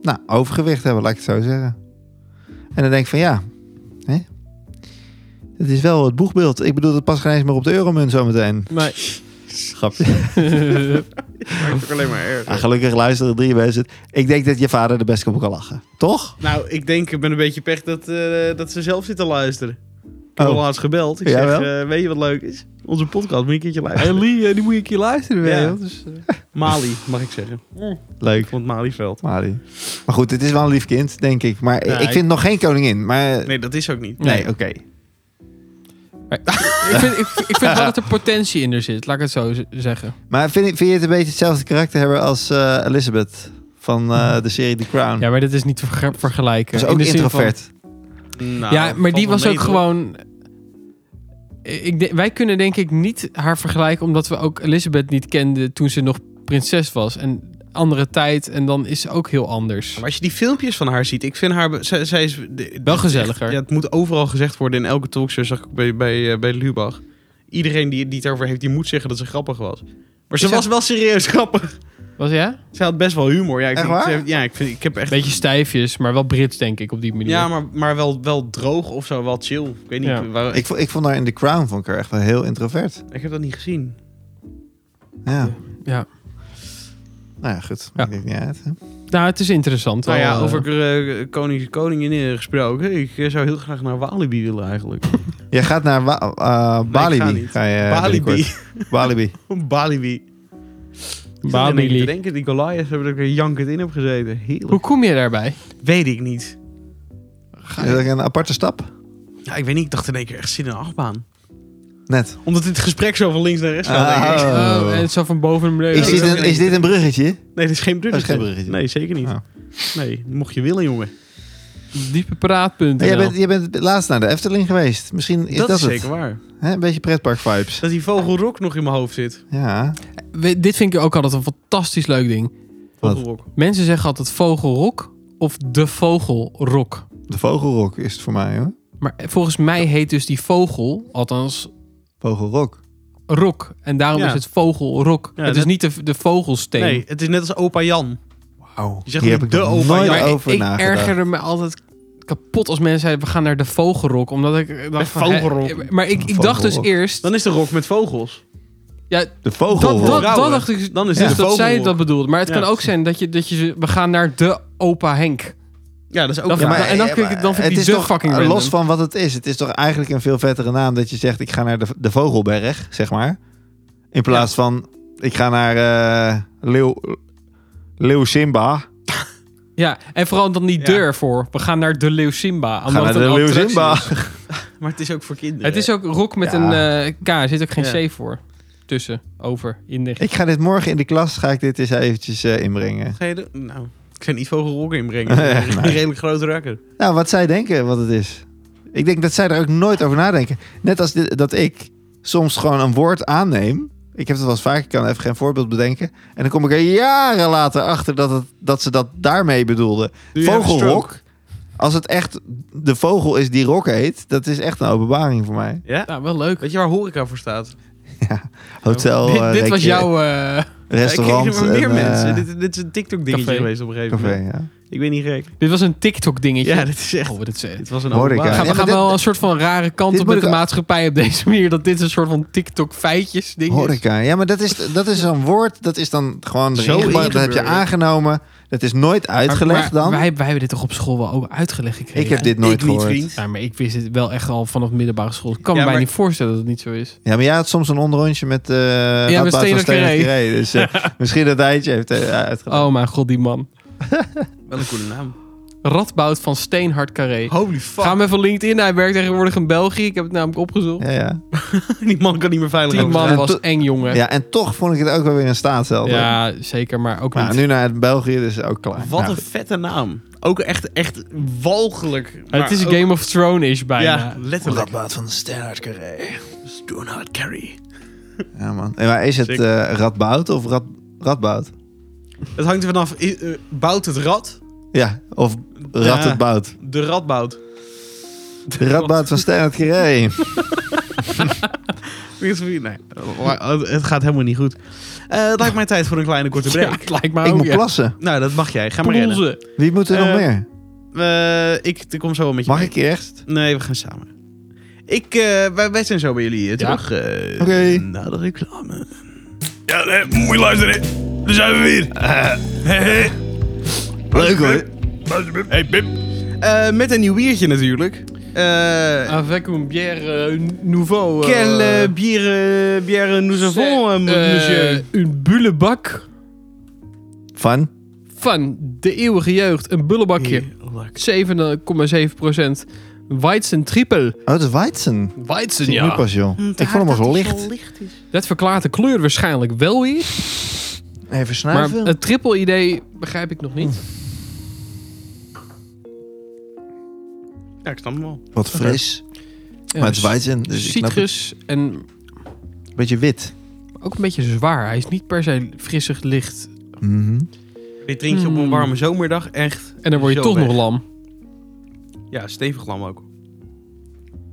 nou, overgewicht hebben, laat ik het zo zeggen. En dan denk ik van ja, hè? het is wel het boegbeeld. Ik bedoel, het past geen eens meer op de euromunt zometeen. Maar Grapje. maakt het alleen maar erg. Ja, gelukkig luisteren drie mensen. Ik denk dat je vader er best op kan lachen, toch? Nou, ik denk met een beetje pech dat, eh, dat ze zelf zit te luisteren. Ik heb Oh. al laatst gebeld. Ik Ja, zeg, wel? eh, weet je wat leuk is? Onze podcast, moet je een keertje luisteren. Ellie, eh, die moet je een keer luisteren. weet je wel. Dus, Mali, mag ik zeggen. Leuk. Van het Malieveld. Mali. Maar goed, het is wel een lief kind, denk ik. Maar Ja, ik ik- vind nog geen koningin. Maar nee, Nee, dat is ook niet. nee. oké. ik, vind, ik, ik vind wel dat er potentie in er zit. Laat ik het zo z- zeggen. Maar vind, je- vind je het een beetje hetzelfde karakter hebben als eh, Elizabeth van eh, de serie The Crown? Ja, maar dat is niet te verge- vergelijken. Dat is In ook de zin van- introvert. Nou, ja, maar valt die wel was mee, ook toch? gewoon. Ik denk- wij kunnen denk ik niet haar vergelijken, omdat we ook Elizabeth niet kenden toen ze nog prinses was. En andere tijd, en dan is ze ook heel anders. Maar als je die filmpjes van haar ziet, ik vind haar... be- Zij, zij is... de- Wel gezelliger. Ja, het moet overal gezegd worden in elke talkshow, zag ik bij, bij, eh, bij Lubach. Iedereen die, die het over heeft, die moet zeggen dat ze grappig was. Maar ze Is was wel serieus grappig. Was ja? Ze had best wel humor. Ja, ik, Echt denk- ze waar? heeft- ja, ik, vind, ik heb echt... Beetje stijfjes, maar wel Brits denk ik op die manier. ja, maar, maar wel, wel droog of zo. Wel chill. Ik weet niet. Ja. Waar, ik, Ik, vo- ik vond haar in The Crown vond ik haar echt wel heel introvert. ik heb dat niet gezien. Ja. Ja. Nou ja, goed. Ja. Ik denk niet uit. hè. Nou, het is interessant. Nou ja, wel, eh, over eh, konings en koninginnen gesproken. Ik eh, zou heel graag naar Walibi willen eigenlijk. Jij gaat naar Wa- eh, Balibi. ga niet. ga je, eh, Walibi. binnenkort. Balibi. Balibi. Ik zat Babili. ineens te denken, die Goliath hebben er weer jankend in heb gezeten. Heerlijk. Hoe kom je daarbij? Weet ik niet. Is dat een aparte stap? Ja, ik weet niet. Ik dacht in één keer echt zin in een achtbaan. Net. Omdat dit gesprek zo van links naar rechts gaat, Ah. denk ik. Oh. Eh, en zo van boven naar beneden. Is dit, dat is ook een, is dit een bruggetje? Nee, dit is geen bruggetje. geen bruggetje. Nee, zeker niet. Oh. Nee, mocht je willen, jongen. Diepe praatpunten. Maar jij, bent, jij bent laatst naar de Efteling geweest. Misschien is dat, dat is het. zeker waar. Hè, Een beetje pretpark vibes. Dat die vogelrok nog in mijn hoofd zit. Ja. We- dit vind ik ook altijd een fantastisch leuk ding. Wat? Vogelrok. Mensen zeggen altijd vogelrok of de vogelrok. De vogelrok is het voor mij hoor. Maar volgens mij heet dus die vogel, althans Vogelrok. rok. En daarom Ja. is het vogelrok. Ja, het is dat- niet de, de vogelsteen. Nee, het is net als opa Jan. Wauw. Je zegt Hier niet heb ik de nog opa nooit Jan. Maar over ik nagedacht. ergerde me altijd kapot als mensen zeiden, we gaan naar de vogelrok. Omdat ik eh, dacht van, hè, vogelrok. Maar ik, ik dacht dus Vogelrok. eerst... Dan is de rok met vogels. ja, De dat, vogelrok. dat, dat Vrouwen. dacht ik Dan is dus het de dat zij vogelrok. dat bedoelde. Maar het Ja. kan ook zijn dat je, dat je... ze- We gaan naar de opa Henk. Ja, dat is ook Dat- raar. maar- en dan vind ik- maar eh, dan vind ik die het is zo toch, fucking eh, random. Los van wat het is. Het is toch eigenlijk een veel vettere naam dat je zegt... ik ga naar de, de Vogelberg, zeg maar. In plaats van... ik ga naar eh Leeuw, Leeuw Simba. Ja, en vooral dan die Ja. deur voor. We gaan naar de Leeuw Simba. Ga omdat naar het de een Leeuw attractie Simba. is. Maar het is ook voor kinderen. Het is ook rok met Ja. een eh, K. Er zit ook geen Ja. C voor. Tussen, over, in de... Ik ga dit morgen in de klas... ga ik dit eens eventjes eh, inbrengen. Ga je de- Nou, ik zou niet vogelrok inbrengen. Ja, Een nee. redelijk grote rakker. Nou, wat zij denken wat het is. Ik denk dat zij er ook nooit over nadenken. Net als dit- dat ik soms gewoon een woord aanneem. Ik heb dat wel eens vaak, ik kan even geen voorbeeld bedenken. En dan kom ik er jaren later achter dat, het, dat ze dat daarmee bedoelden. Doe je even stroke? Vogelrok. Als het echt de vogel is die rok heet, dat is echt een openbaring voor mij. Ja? Nou, wel leuk. Weet je waar horeca voor staat? Hotel, dit eh, dit was rekje, jouw... eh, Ja, restaurant. ik ken er maar meer en, eh, mensen. Dit, dit is een TikTok-dingetje café. geweest op een gegeven Café, moment. ja. Ik ben niet gek. dit was een TikTok-dingetje. Ja, dit is echt... Oh, wat het is- Dit was een Horeca. openbaring. Gaan, Ja, we gaan maar dit- wel een soort van rare kant dit op moet met de ik- maatschappij op deze manier. Dat dit een soort van TikTok-feitjes ding is. Horeca. Ja, maar dat is, dat is zo'n woord, dat is dan gewoon Zo erin gebracht, Dat heb je ingeburgerd. aangenomen. Dat is nooit Maar- uitgelegd maar dan. Wij, wij hebben dit toch op school wel ook uitgelegd gekregen? Ik heb dit nooit ik niet, gehoord. vriend. Ja, maar ik wist het wel echt al vanaf middelbare school. Ik kan Ja, me mij maar- niet voorstellen dat het niet zo is. Ja, maar jij had soms een onderrondje met eh ja, met Steno Carré. Dus eh, misschien dat hij het je heeft eh, uitgelegd. Oh mijn god, die man. Wel een coole naam. Radboud van Steenhard Carré. Holy fuck. Ga hem even LinkedIn. Hij werkt tegenwoordig in België. Ik heb het namelijk opgezocht. Ja, ja. Die man kan niet meer veilig Die over man straat. was to- eng, jongen. Ja, ja, en toch vond ik het ook wel weer een staatshelder. zeker, maar ook Maar niet. nu naar België, dus ook klaar. Wat Nou, een vette naam. Ook echt, echt walgelijk. maar het is ook- Game of Thrones-ish bijna. Ja, letterlijk. Radboud van de Sternhard Carré. Dus Do not carry. Ja, man. En maar is het Zeker. eh Radboud of Rad, Radboud? Het hangt er vanaf. i- eh, Bouwt het rad? Ja, of Rad Ja. het Bout. De rat bouwt. Radboud van Sternhard Carré. Oh, Nee, eh, het gaat helemaal niet goed. Eh, het lijkt mij tijd voor een kleine korte Ja, break. het lijkt me ik ook, moet ja. plassen. Nou, dat mag jij. Ga maar rennen. Poelzen. Wie moet er nog Eh, meer? Eh, ik ik kom zo wel met je Mag mee. ik eerst? Nee, we gaan samen. Ik, eh, wij, wij zijn zo bij jullie eh, Ja. terug. eh, Oké. Na de reclame. Ja, nee, moet je luisteren. Daar zijn we weer. Leuk hoor. Hey, Pip. Eh, met een nieuw biertje natuurlijk. Eh Avec un bière eh, nouveau. eh, quel eh, bier, eh, bière nous avons, eh, eh, monsieur? Een bullebak Van? van de eeuwige jeugd. Een bullebakje. 7,7 procent. Weizen triple. Oh, het is Weizen. Weizen, Zie ik nu ja. pas, joh. Ik vond hem als licht. Dat verklaart de kleur waarschijnlijk wel weer. Even Maar snuiven. het triple idee begrijp ik nog niet. Ja, ik snap hem wel. Wat fris. Ja, maar het is Weizen, dus ik snap het. Eh, citrus en Een beetje wit. ook een beetje zwaar. Hij is niet per se frissig licht. Mhm. Dit drink je op Hmm. een Mm. warme zomerdag echt. En dan word je Zo toch weg. nog lam. Ja, stevig lam ook.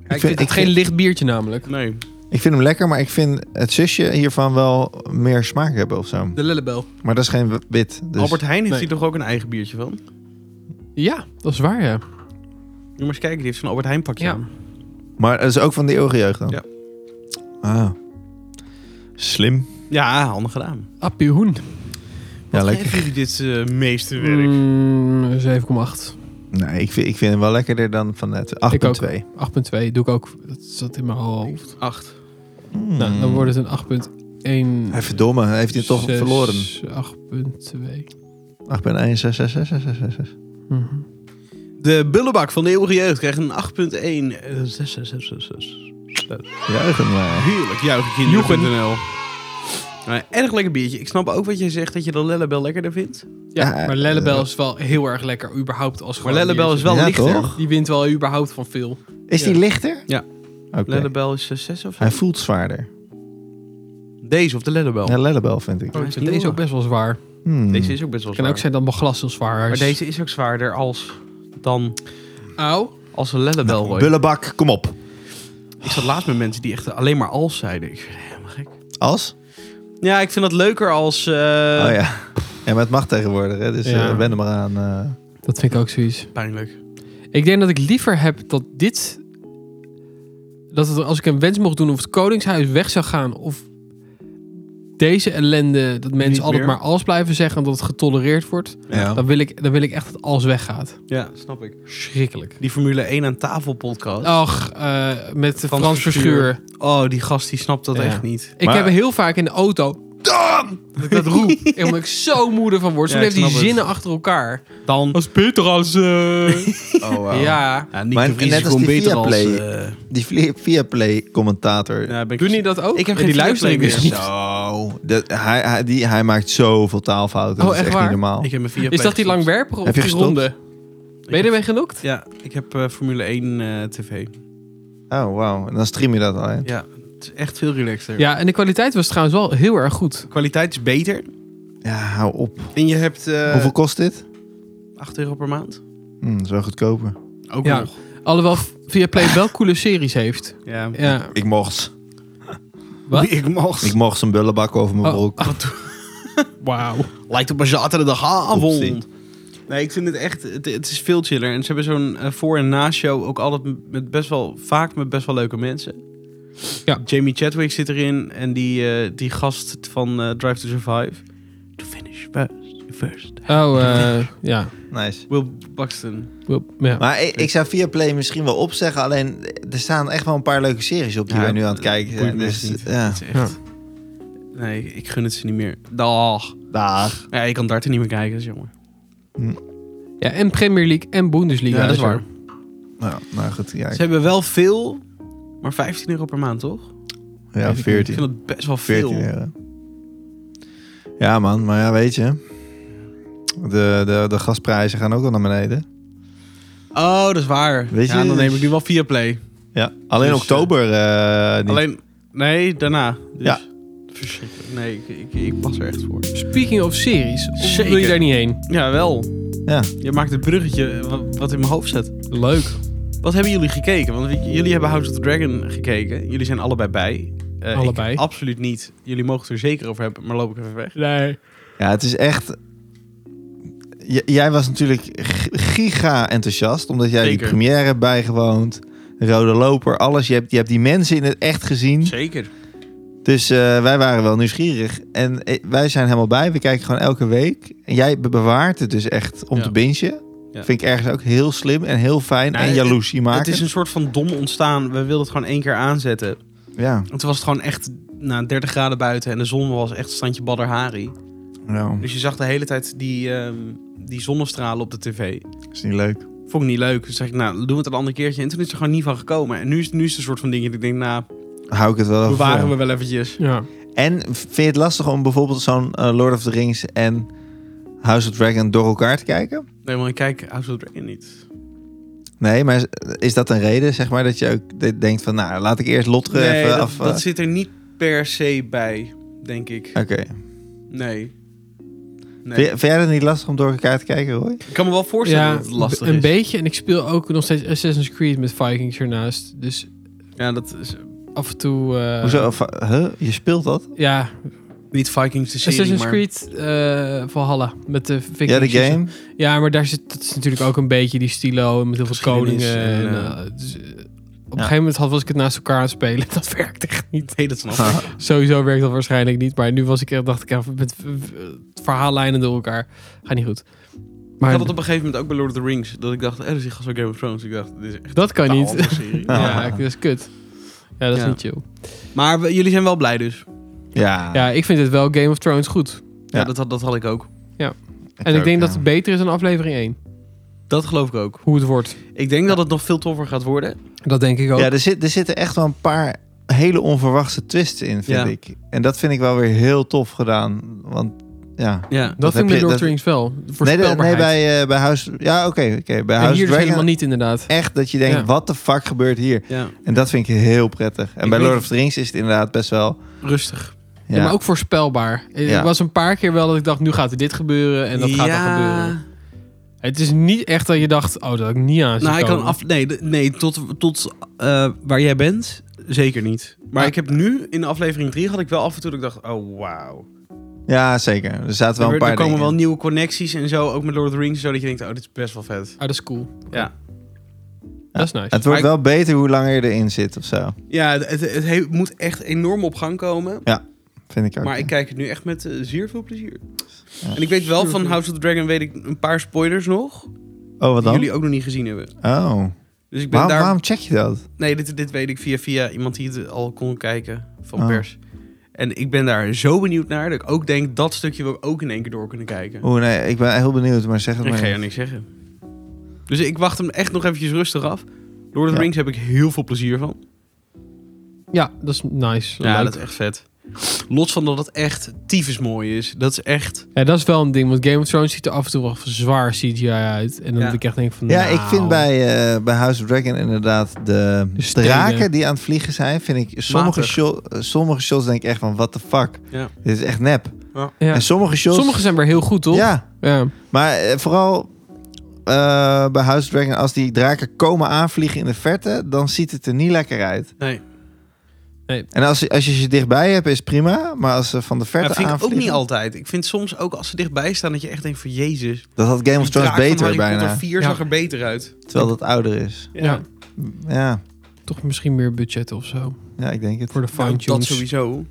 ik vind het geen licht biertje namelijk. Nee. Ik vind hem lekker, maar ik vind het zusje hiervan wel meer smaak hebben of zo. De Lillebel. Maar dat is geen w- wit. Dus Albert Heijn heeft Nee. hier toch ook een eigen biertje van? Moet Ja, dat is waar, ja. je maar eens kijken, die heeft zo'n Albert Heijn pakje Ja. aan. Maar dat is ook van die oogjeugd dan? Ja. Ah. Slim. Ja, handig gedaan. Appie Hoen. Ja, Wat lekker. geven jullie dit eh, meesterwerk? Mm, 7,8. 8,2 Nee, ik vind, ik vind hem wel lekkerder dan van net. 8,2. doe ik ook. Dat zat in mijn hoofd. Acht. Mm. Nou, dan wordt het een 8,1. Hij verdomme, hij heeft hij toch zes, verloren. 8,2. 8,16666. Mhm. De Bullebak van de eeuwige jeugd krijgt een 8.1. Eh, 6666. Juichen maar. Heerlijk, juichenkinderen.nl. Eh, erg lekker biertje. Ik snap ook wat jij zegt, dat je de Lellebel lekkerder vindt. Ja, Ja, maar eh, Lellebel is wel heel erg lekker, überhaupt als Maar gewoon Lellebel is biertje. wel Ja, lichter. toch? Die wint wel überhaupt van veel. Is die Ja. lichter? Ja. Oké. Lellebel is 6 of zo. Hij voelt zwaarder. Deze of de Lellebel. Ja, Lellebel vind ik. Oh, Oh, is ik vind nieuw, deze hoor. ook best wel zwaar. Het Hmm. Deze is ook best wel kan zwaar. ook zijn dat mijn glas heel zwaar is. Maar deze is ook zwaarder als, dan Auw. als een Lellebel. nou, hoor. Bullebak, kom op. ik zat laatst met mensen die echt alleen maar als zeiden. Ik vind het helemaal gek. Als? Ja, ik vind dat leuker als... eh, oh ja. Ja, maar het mag tegenwoordig, hè? dus eh Ja. wen er maar aan. eh. Dat vind ik ook zoiets. Pijnlijk. Ik denk dat ik liever heb dat dit... Dat het, als ik een wens mocht doen of het Koningshuis weg zou gaan... of deze ellende, dat mensen Niet altijd meer. maar als blijven zeggen... en dat het getolereerd wordt... Ja. Dan, wil ik, dan wil ik echt dat alles weggaat. Ja, snap ik. Schrikkelijk. Die Formule 1 aan tafel podcast. Ach, eh, met Frans Frans, Verschuur. Verschuur. Oh, die gast die snapt dat Ja. echt niet. Ik Maar- heb heel vaak in de auto... Dat ik dat roep. En Omdat ik zo moeder van word. Ah! Ja, Toen ik heeft die snap het. zinnen achter elkaar. Dan... Als Peter als... eh, Oh, wow. Ja. Ja, niet Maar de Vries net als kon die beter als... Viaplay. eh, Die via- Viaplay-commentator. ja, ben ik- Doen die dat ook? Ik heb Ja, geen die luisteren Viaplay dus niet. Zo. Dat, hij, hij, die, hij maakt zoveel taalfouten. Oh, dat is echt echt waar? niet normaal. Ik heb mijn Viaplay Is dat die gestopt. langwerpige of Heb je die gestopt? ronde? Ben je ermee genokt? Ja, ik heb eh, Formule 1 eh, tv. Oh, wauw. En dan stream je dat al, hè? Ja, het is echt veel relaxter. Ja, en de kwaliteit was trouwens wel heel erg goed. De kwaliteit is beter. Ja, hou op. En je hebt eh, Hoeveel kost dit? 8 euro per maand. Hm, dat is wel goedkoper. Ook Ja. nog. Alhoewel Viaplay wel coole series heeft. Ja. Ja. Ik mocht. Wat? Ik mocht. Ik mocht zijn bullenbak over mijn Oh. broek. Wauw. Lijkt op een zaterdagavond. Oepsie. Nee, ik vind het echt... Het, het is veel chiller. En ze hebben zo'n eh, voor- en na-show ook altijd met best wel... Vaak met best wel leuke mensen. Ja. Jamie Chadwick zit erin. En die, eh, die gast van eh, Drive to Survive. To finish first. first. Oh, eh, ja. Nice. Will Buxton. Wil- ja. Maar ik, ik zou Viaplay misschien wel opzeggen. Alleen, eh, er staan echt wel een paar leuke series op die Ja, wij nu aan het kijken boeit zijn. me Dus, echt niet. ja. Het is echt... Nee, ik gun het ze niet meer. Dag. Dag. Ja, je kan darten niet meer kijken, dat is jammer. ja, en Premier League en Bundesliga. Ja, dat is Dus er- waar. Nou, nou goed. Ja, Ze hebben wel veel, maar 15 euro per maand, toch? ja Ik 14. vind dat best wel veel. 14 euro. Ja, man. Maar ja, weet je. De, de, de gasprijzen gaan ook al naar beneden. Oh, dat is waar. Weet ja, je- dan neem ik nu wel via play. Ja. Alleen Dus, oktober. eh, niet. Alleen, nee, daarna. Dus. Ja. Verschrikkelijk. Nee, ik, ik, ik pas er echt voor. Speaking of series, of wil Zeker. je daar niet heen? Ja, wel. Ja. Je maakt het bruggetje wa- wat, in mijn hoofd zit. Leuk. Wat hebben jullie gekeken? Want j- jullie hebben House of the Dragon gekeken. Jullie zijn allebei bij. Eh, ik Allebei. absoluut niet. Jullie mogen het er zeker over hebben, maar loop ik even weg. Nee. Ja, het is echt. J- jij was natuurlijk g- giga enthousiast, omdat jij Zeker. die première hebt bijgewoond. Rode loper, alles. Je hebt, je hebt die mensen in het echt gezien. Zeker. Dus eh, wij waren wel nieuwsgierig. En eh, wij zijn helemaal bij. We kijken gewoon elke week. En jij be- bewaart het dus echt om Ja. te bingen. Ja. Vind ik ergens ook heel slim en heel fijn. Nou, en het- jaloezie Het maken. is een soort van dom ontstaan. We wilden het gewoon één keer aanzetten. Ja. En toen was het gewoon echt na 30 graden buiten en de zon was echt standje Badderhari. Nou, Dus je zag de hele tijd die, ehm, die zonnestralen op de tv. is niet leuk. Vond ik niet leuk. Dus zeg ik, nou, doen we het een ander keertje. En toen is er gewoon niet van gekomen. En nu is, nu is het een soort van dingetje dat ik denk, nou, Hou ik het wel over. bewaren vol. we wel eventjes. Ja. En vind je het lastig om bijvoorbeeld zo'n eh, Lord of the Rings en House of Dragon door elkaar te kijken? Nee, maar ik kijk House of the Dragon niet. Nee, maar is- is dat een reden, zeg maar, dat je ook de- denkt van, nou, laat ik eerst Lotre Nee, even dat, af... dat eh, zit er niet per se bij, denk ik. Oké. Nee. Nee. Vind, vind jij dat niet lastig om door elkaar te kijken, Roy? Ik kan me wel voorstellen dat het lastig een is. beetje. En ik speel ook nog steeds Assassin's Creed met Vikings ernaast. Dus Ja, dat is... af en toe... eh, Hoezo? Va- Huh? Je speelt dat? Ja, Niet Vikings de serie, Assassin's maar... Creed eh Valhalla. Met de Ja, de Vikings. game. Ja, maar daar zit dat is natuurlijk ook een beetje die stilo en met heel veel Geschiedenis koningen. En, en, eh, eh, het is, eh, op een gegeven moment had, was ik het naast elkaar aan het spelen. Dat werkt echt niet. Nee, dat snap ik. Ah, Sowieso werkt dat waarschijnlijk niet. Maar nu was ik, eh, dacht ik, ja, met eh, verhaallijnen door elkaar. Gaat niet goed. Ik Maar had het op een gegeven moment ook bij Lord of the Rings. Dat ik dacht, eh, er zit gast wel Game of Thrones. Ik dacht, dit is echt dat kan een niet. andere serie. Ah. Ja, dat is kut. Ja, dat is Ja. niet chill. Maar we- jullie zijn wel blij dus. Ja. Ja, ik vind het wel Game of Thrones goed. Ja, Ja. dat, had, dat had ik ook. En ik ook, denk dat ja. het beter is dan aflevering 1. Dat geloof ik ook. Hoe het wordt. Ik denk dat het nog veel toffer gaat worden. Dat denk ik ook. Ja, er, zit, er zitten echt wel een paar hele onverwachte twists in, vind Ja. ik. En dat vind ik wel weer heel tof gedaan. Want ja. Ja. dat heb vind ik met je- Lord of dat- the Rings wel. Nee, de- Voorspelbaarheid. nee, bij, eh bij House... Ja, oké. oké. Bij en House hier of dus helemaal Dragon niet inderdaad. echt dat je denkt, Ja. wat de fuck gebeurt hier? ja. En dat vind ik heel prettig. En Ik bij weet- Lord of the Rings is het inderdaad best wel... Rustig. Ja, Ja, maar ook voorspelbaar. Het Ja. was een paar keer wel dat ik dacht, nu gaat er dit gebeuren en dat gaat Ja. dan gebeuren. Het is niet echt dat je dacht, oh, dat had ik niet aan zien Nou, ik kan komen. af... Nee, de- nee tot, tot eh, waar jij bent, zeker niet. Maar Ja. ik heb nu, in aflevering 3, had ik wel af en toe dat ik dacht, oh wauw. ja zeker. Er zaten wel Er, een paar er komen dingen wel in. nieuwe connecties en zo, ook met Lord of the Rings, zodat je denkt, oh, dit is best wel vet. Ah, dat is cool. Ja. Dat is nice. Het wordt Maar wel beter hoe langer je erin zit of zo, Ja, het, het, het he- moet echt enorm op gang komen. vind ik ook. Maar ik kijk het nu echt met eh, zeer veel plezier. Ja. En ik weet wel Zeer van veel. House of the Dragon weet ik een paar spoilers nog. Oh, wat Die dan? jullie ook nog niet gezien hebben. Oh, Dus ik ben waarom, daar. waarom check je dat? Nee, dit, dit weet ik via, via iemand die het al kon kijken van Oh. pers. En ik ben daar zo benieuwd naar dat ik ook denk dat stukje wil ik ook in één keer door kunnen kijken. Oeh, nee, ik ben heel benieuwd, maar zeg het ik maar ga niet. jou niks zeggen. Dus ik wacht hem echt nog eventjes rustig af. Lord of the Ja. Rings heb ik heel veel plezier van. Ja, dat is nice. Ja, Leuk. dat is echt vet. Los van dat het echt tyfus mooi is. Dat is echt... ja, dat is wel een ding, want Game of Thrones ziet er af en toe wel zwaar CGI uit. En dan Ja. dat ik echt denk van, Ja, nou, ik vind bij, eh, bij House of Dragon inderdaad de, De stenen. draken die aan het vliegen zijn, vind ik sommige, Matig. sho- eh, sommige shots denk ik echt van what the fuck. Ja. Dit is echt nep. Ja. En sommige shots. Sommige zijn weer heel goed, toch? Ja, Ja. maar eh, vooral eh, bij House of Dragon als die draken komen aanvliegen in de verte, dan ziet het er niet lekker uit. Nee. Nee. En als, als je ze dichtbij hebt is het prima, maar als ze van de Maar verte dat vind ik ook aanvliegen, niet altijd. Ik vind soms ook als ze dichtbij staan dat je echt denkt van... Jezus, dat had Game of die Thrones draak van beter Harry bijna, Potter 4 Ja. zag er beter uit. terwijl dat ouder is. Ja. Ja, Toch misschien meer budget of zo. ja ik denk het. Voor de Nou, dat fine-tunes. sowieso.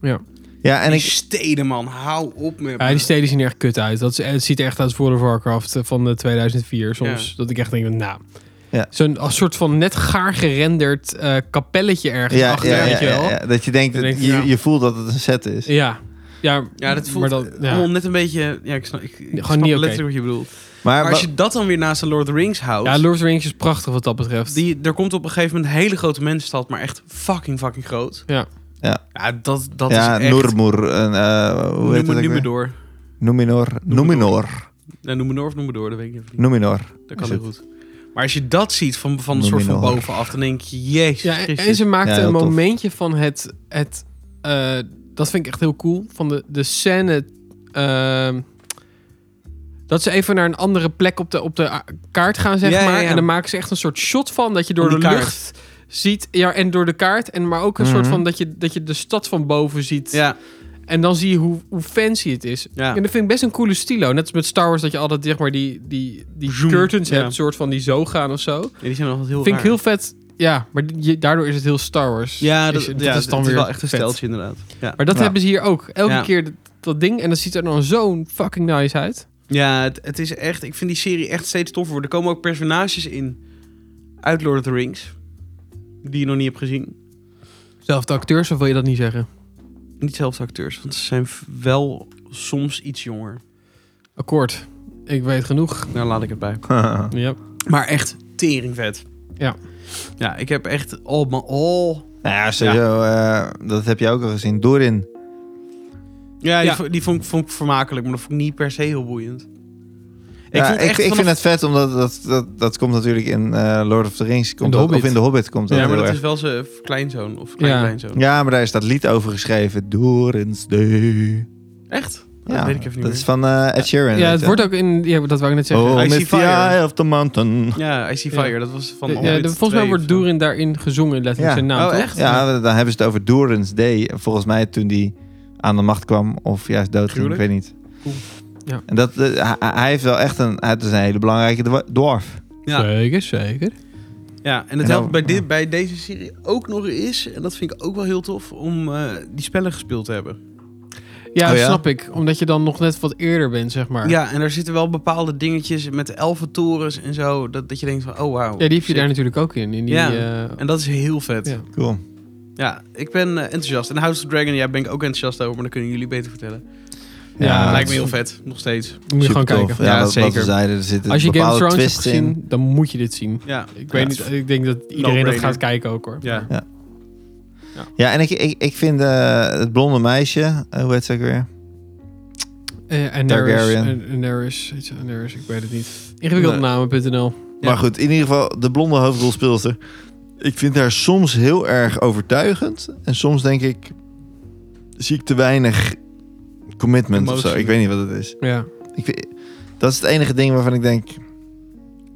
Ja, en En ik, ik... steden, man. Hou op met ja, die steden zien er echt kut uit. Dat is, het ziet er echt uit als World of Warcraft eh, van eh, 2004 soms. Dat ik echt denk, nou... Ja. Zo'n als soort van net gaar gerenderd eh, kapelletje ergens Ja, achter, ja, ja, weet je wel? ja, Ja, ja. dat je denkt, Dan denk dat, je, je, ja. je voelt dat het een set is. ja. Ja, dat voelt maar dan- ja. allemaal net een beetje... Ja, ik snap, ik, ik Gewoon snap niet oké. letterlijk wat je bedoelt. Maar, Maar als wa- je dat dan weer naast een Lord of the Rings houdt... Ja, Lord of the Rings is prachtig wat dat betreft. die, er komt op een gegeven moment een hele grote mensenstad, maar echt fucking fucking groot. Ja. Ja. ja dat, dat ja, is echt... Noormoer. en, eh, hoe heet Noem me, het ook noem me weer? door. Numenor. Numenor. Ja, noem me door of noem me door, dat weet ik even niet. Numenor. Dat kan Is heel goed. Maar als je dat ziet van, van een Noem soort je van nog. bovenaf, dan denk je, jezus Ja, en, en Christus. ze maakte Ja, heel een tof. momentje van het... het eh, dat vind ik echt heel cool. Van de, de scène... ehm, dat ze even naar een andere plek op de, op de a- kaart gaan, zeg Ja, ja, maar. ja. En dan maken ze echt een soort shot van. Dat je door de Om die kaart. lucht ziet. Ja, en door de kaart. En maar ook een Mhm. soort van dat je, dat je de stad van boven ziet. Ja, En dan zie je hoe, hoe fancy het is. ja. En dat vind ik best een coole stilo. Net als met Star Wars dat je altijd zeg maar die, die, die Zoom, curtains ja. hebt. Een soort van die zo gaan of zo. Ja, die zijn nog wat heel Vind ik raar. heel vet. Ja, maar je, daardoor is het heel Star Wars. Ja, dat, is, ja, is dan het weer is wel echt een vet. steltje inderdaad. Ja, Maar dat Ja. hebben ze hier ook. Elke Ja. keer dat, dat ding. En dat ziet er dan zo'n fucking nice uit. ja het, het is echt... Ik vind die serie echt steeds toffer worden. Er komen ook personages in uit Lord of the Rings. Die je nog niet hebt gezien. Zelfde acteurs, of wil je dat niet zeggen? Niet zelfs acteurs, want ze zijn v- wel soms iets jonger. Akkoord. Ik weet genoeg. Daar laat ik het bij. het. Ja. Maar echt teringvet. Ja. Ja, ik heb echt al mijn al. nou ja, sowieso. eh, dat heb je ook al gezien. Dorin. Ja, die, Ja. vo- die vond, ik- vond ik vermakelijk, maar dat vond ik niet per se heel boeiend. Ja, Ik, vond ik, echt vanaf- vind het vet, omdat dat, dat, dat komt natuurlijk in eh, Lord of the Rings. Komt de dat- Hobbit. Of in The Hobbit komt dat Ja, maar heel dat is erg. wel zijn kleinzoon of klein Ja. kleinzoon. Ja, maar daar is dat lied over geschreven. Dorin's Day. Echt? dat weet ik even niet dat meer. is van eh Ed Sheeran. Ja, weet het je. wordt ook in... Ja, dat wou ik net zeggen. Oh, I I see the fire. eye of the mountain. Ja, I See Ja. Fire. Dat was van... Ja, Orbit de- volgens mij 2 wordt of zo. Doerin daarin gezongen, letterlijk Ja. zijn naam, Oh, toch? echt? Ja, dan hebben ze het over Durance Day. En Volgens mij toen die aan de macht kwam of juist dood ging, ik Gruwelijk. weet niet. Oeh. Ja. En dat, eh, hij, hij heeft wel echt een, hij is een hele belangrijke dwa- dwarf. Ja. Zeker, zeker. Ja, en En het dan- helpt bij, ja. dit, bij deze serie ook nog eens, en dat vind ik ook wel heel tof, om eh, die spellen gespeeld te hebben. Ja, Oh, ja? snap ik. Omdat je dan nog net wat eerder bent, zeg maar. Ja, en daar zitten wel bepaalde dingetjes met elfentorens en zo, dat, dat je denkt van, oh wauw. Ja, die heb je sick. daar natuurlijk ook in. in die, Ja. eh, En dat is heel vet. Ja. Ja, Cool. ik ben eh, enthousiast. En House of Dragon, ja, ben ik ook enthousiast over, maar dat kunnen jullie beter vertellen. Ja, Ja, dat lijkt me is- heel vet, nog steeds. moet je gewoon kijken. Ja, Ja, dat, zeker. zeker. zeiden, er zitten Als je Game of bepaalde Thrones hebt twists in. gezien, dan moet je dit zien. Ja, Ik weet niet, ik denk dat iedereen dat No-brainer. gaat kijken ook hoor. ja. Ja, en ik, ik, ik vind eh, het blonde meisje, eh, hoe heet ze ook weer? Eh, Daenerys, Targaryen. eh, Daenerys, iets van Daenerys, ik weet het niet. Ingewikkeldenamen.nl. Ja. Maar goed, in ieder geval, de blonde hoofdrolspeelster. Ik vind haar soms heel erg overtuigend. En soms denk ik, zie ik te weinig commitment of zo. Emotie. Ik weet niet wat het is. Ja. Ik, vind- dat is het enige ding waarvan ik denk...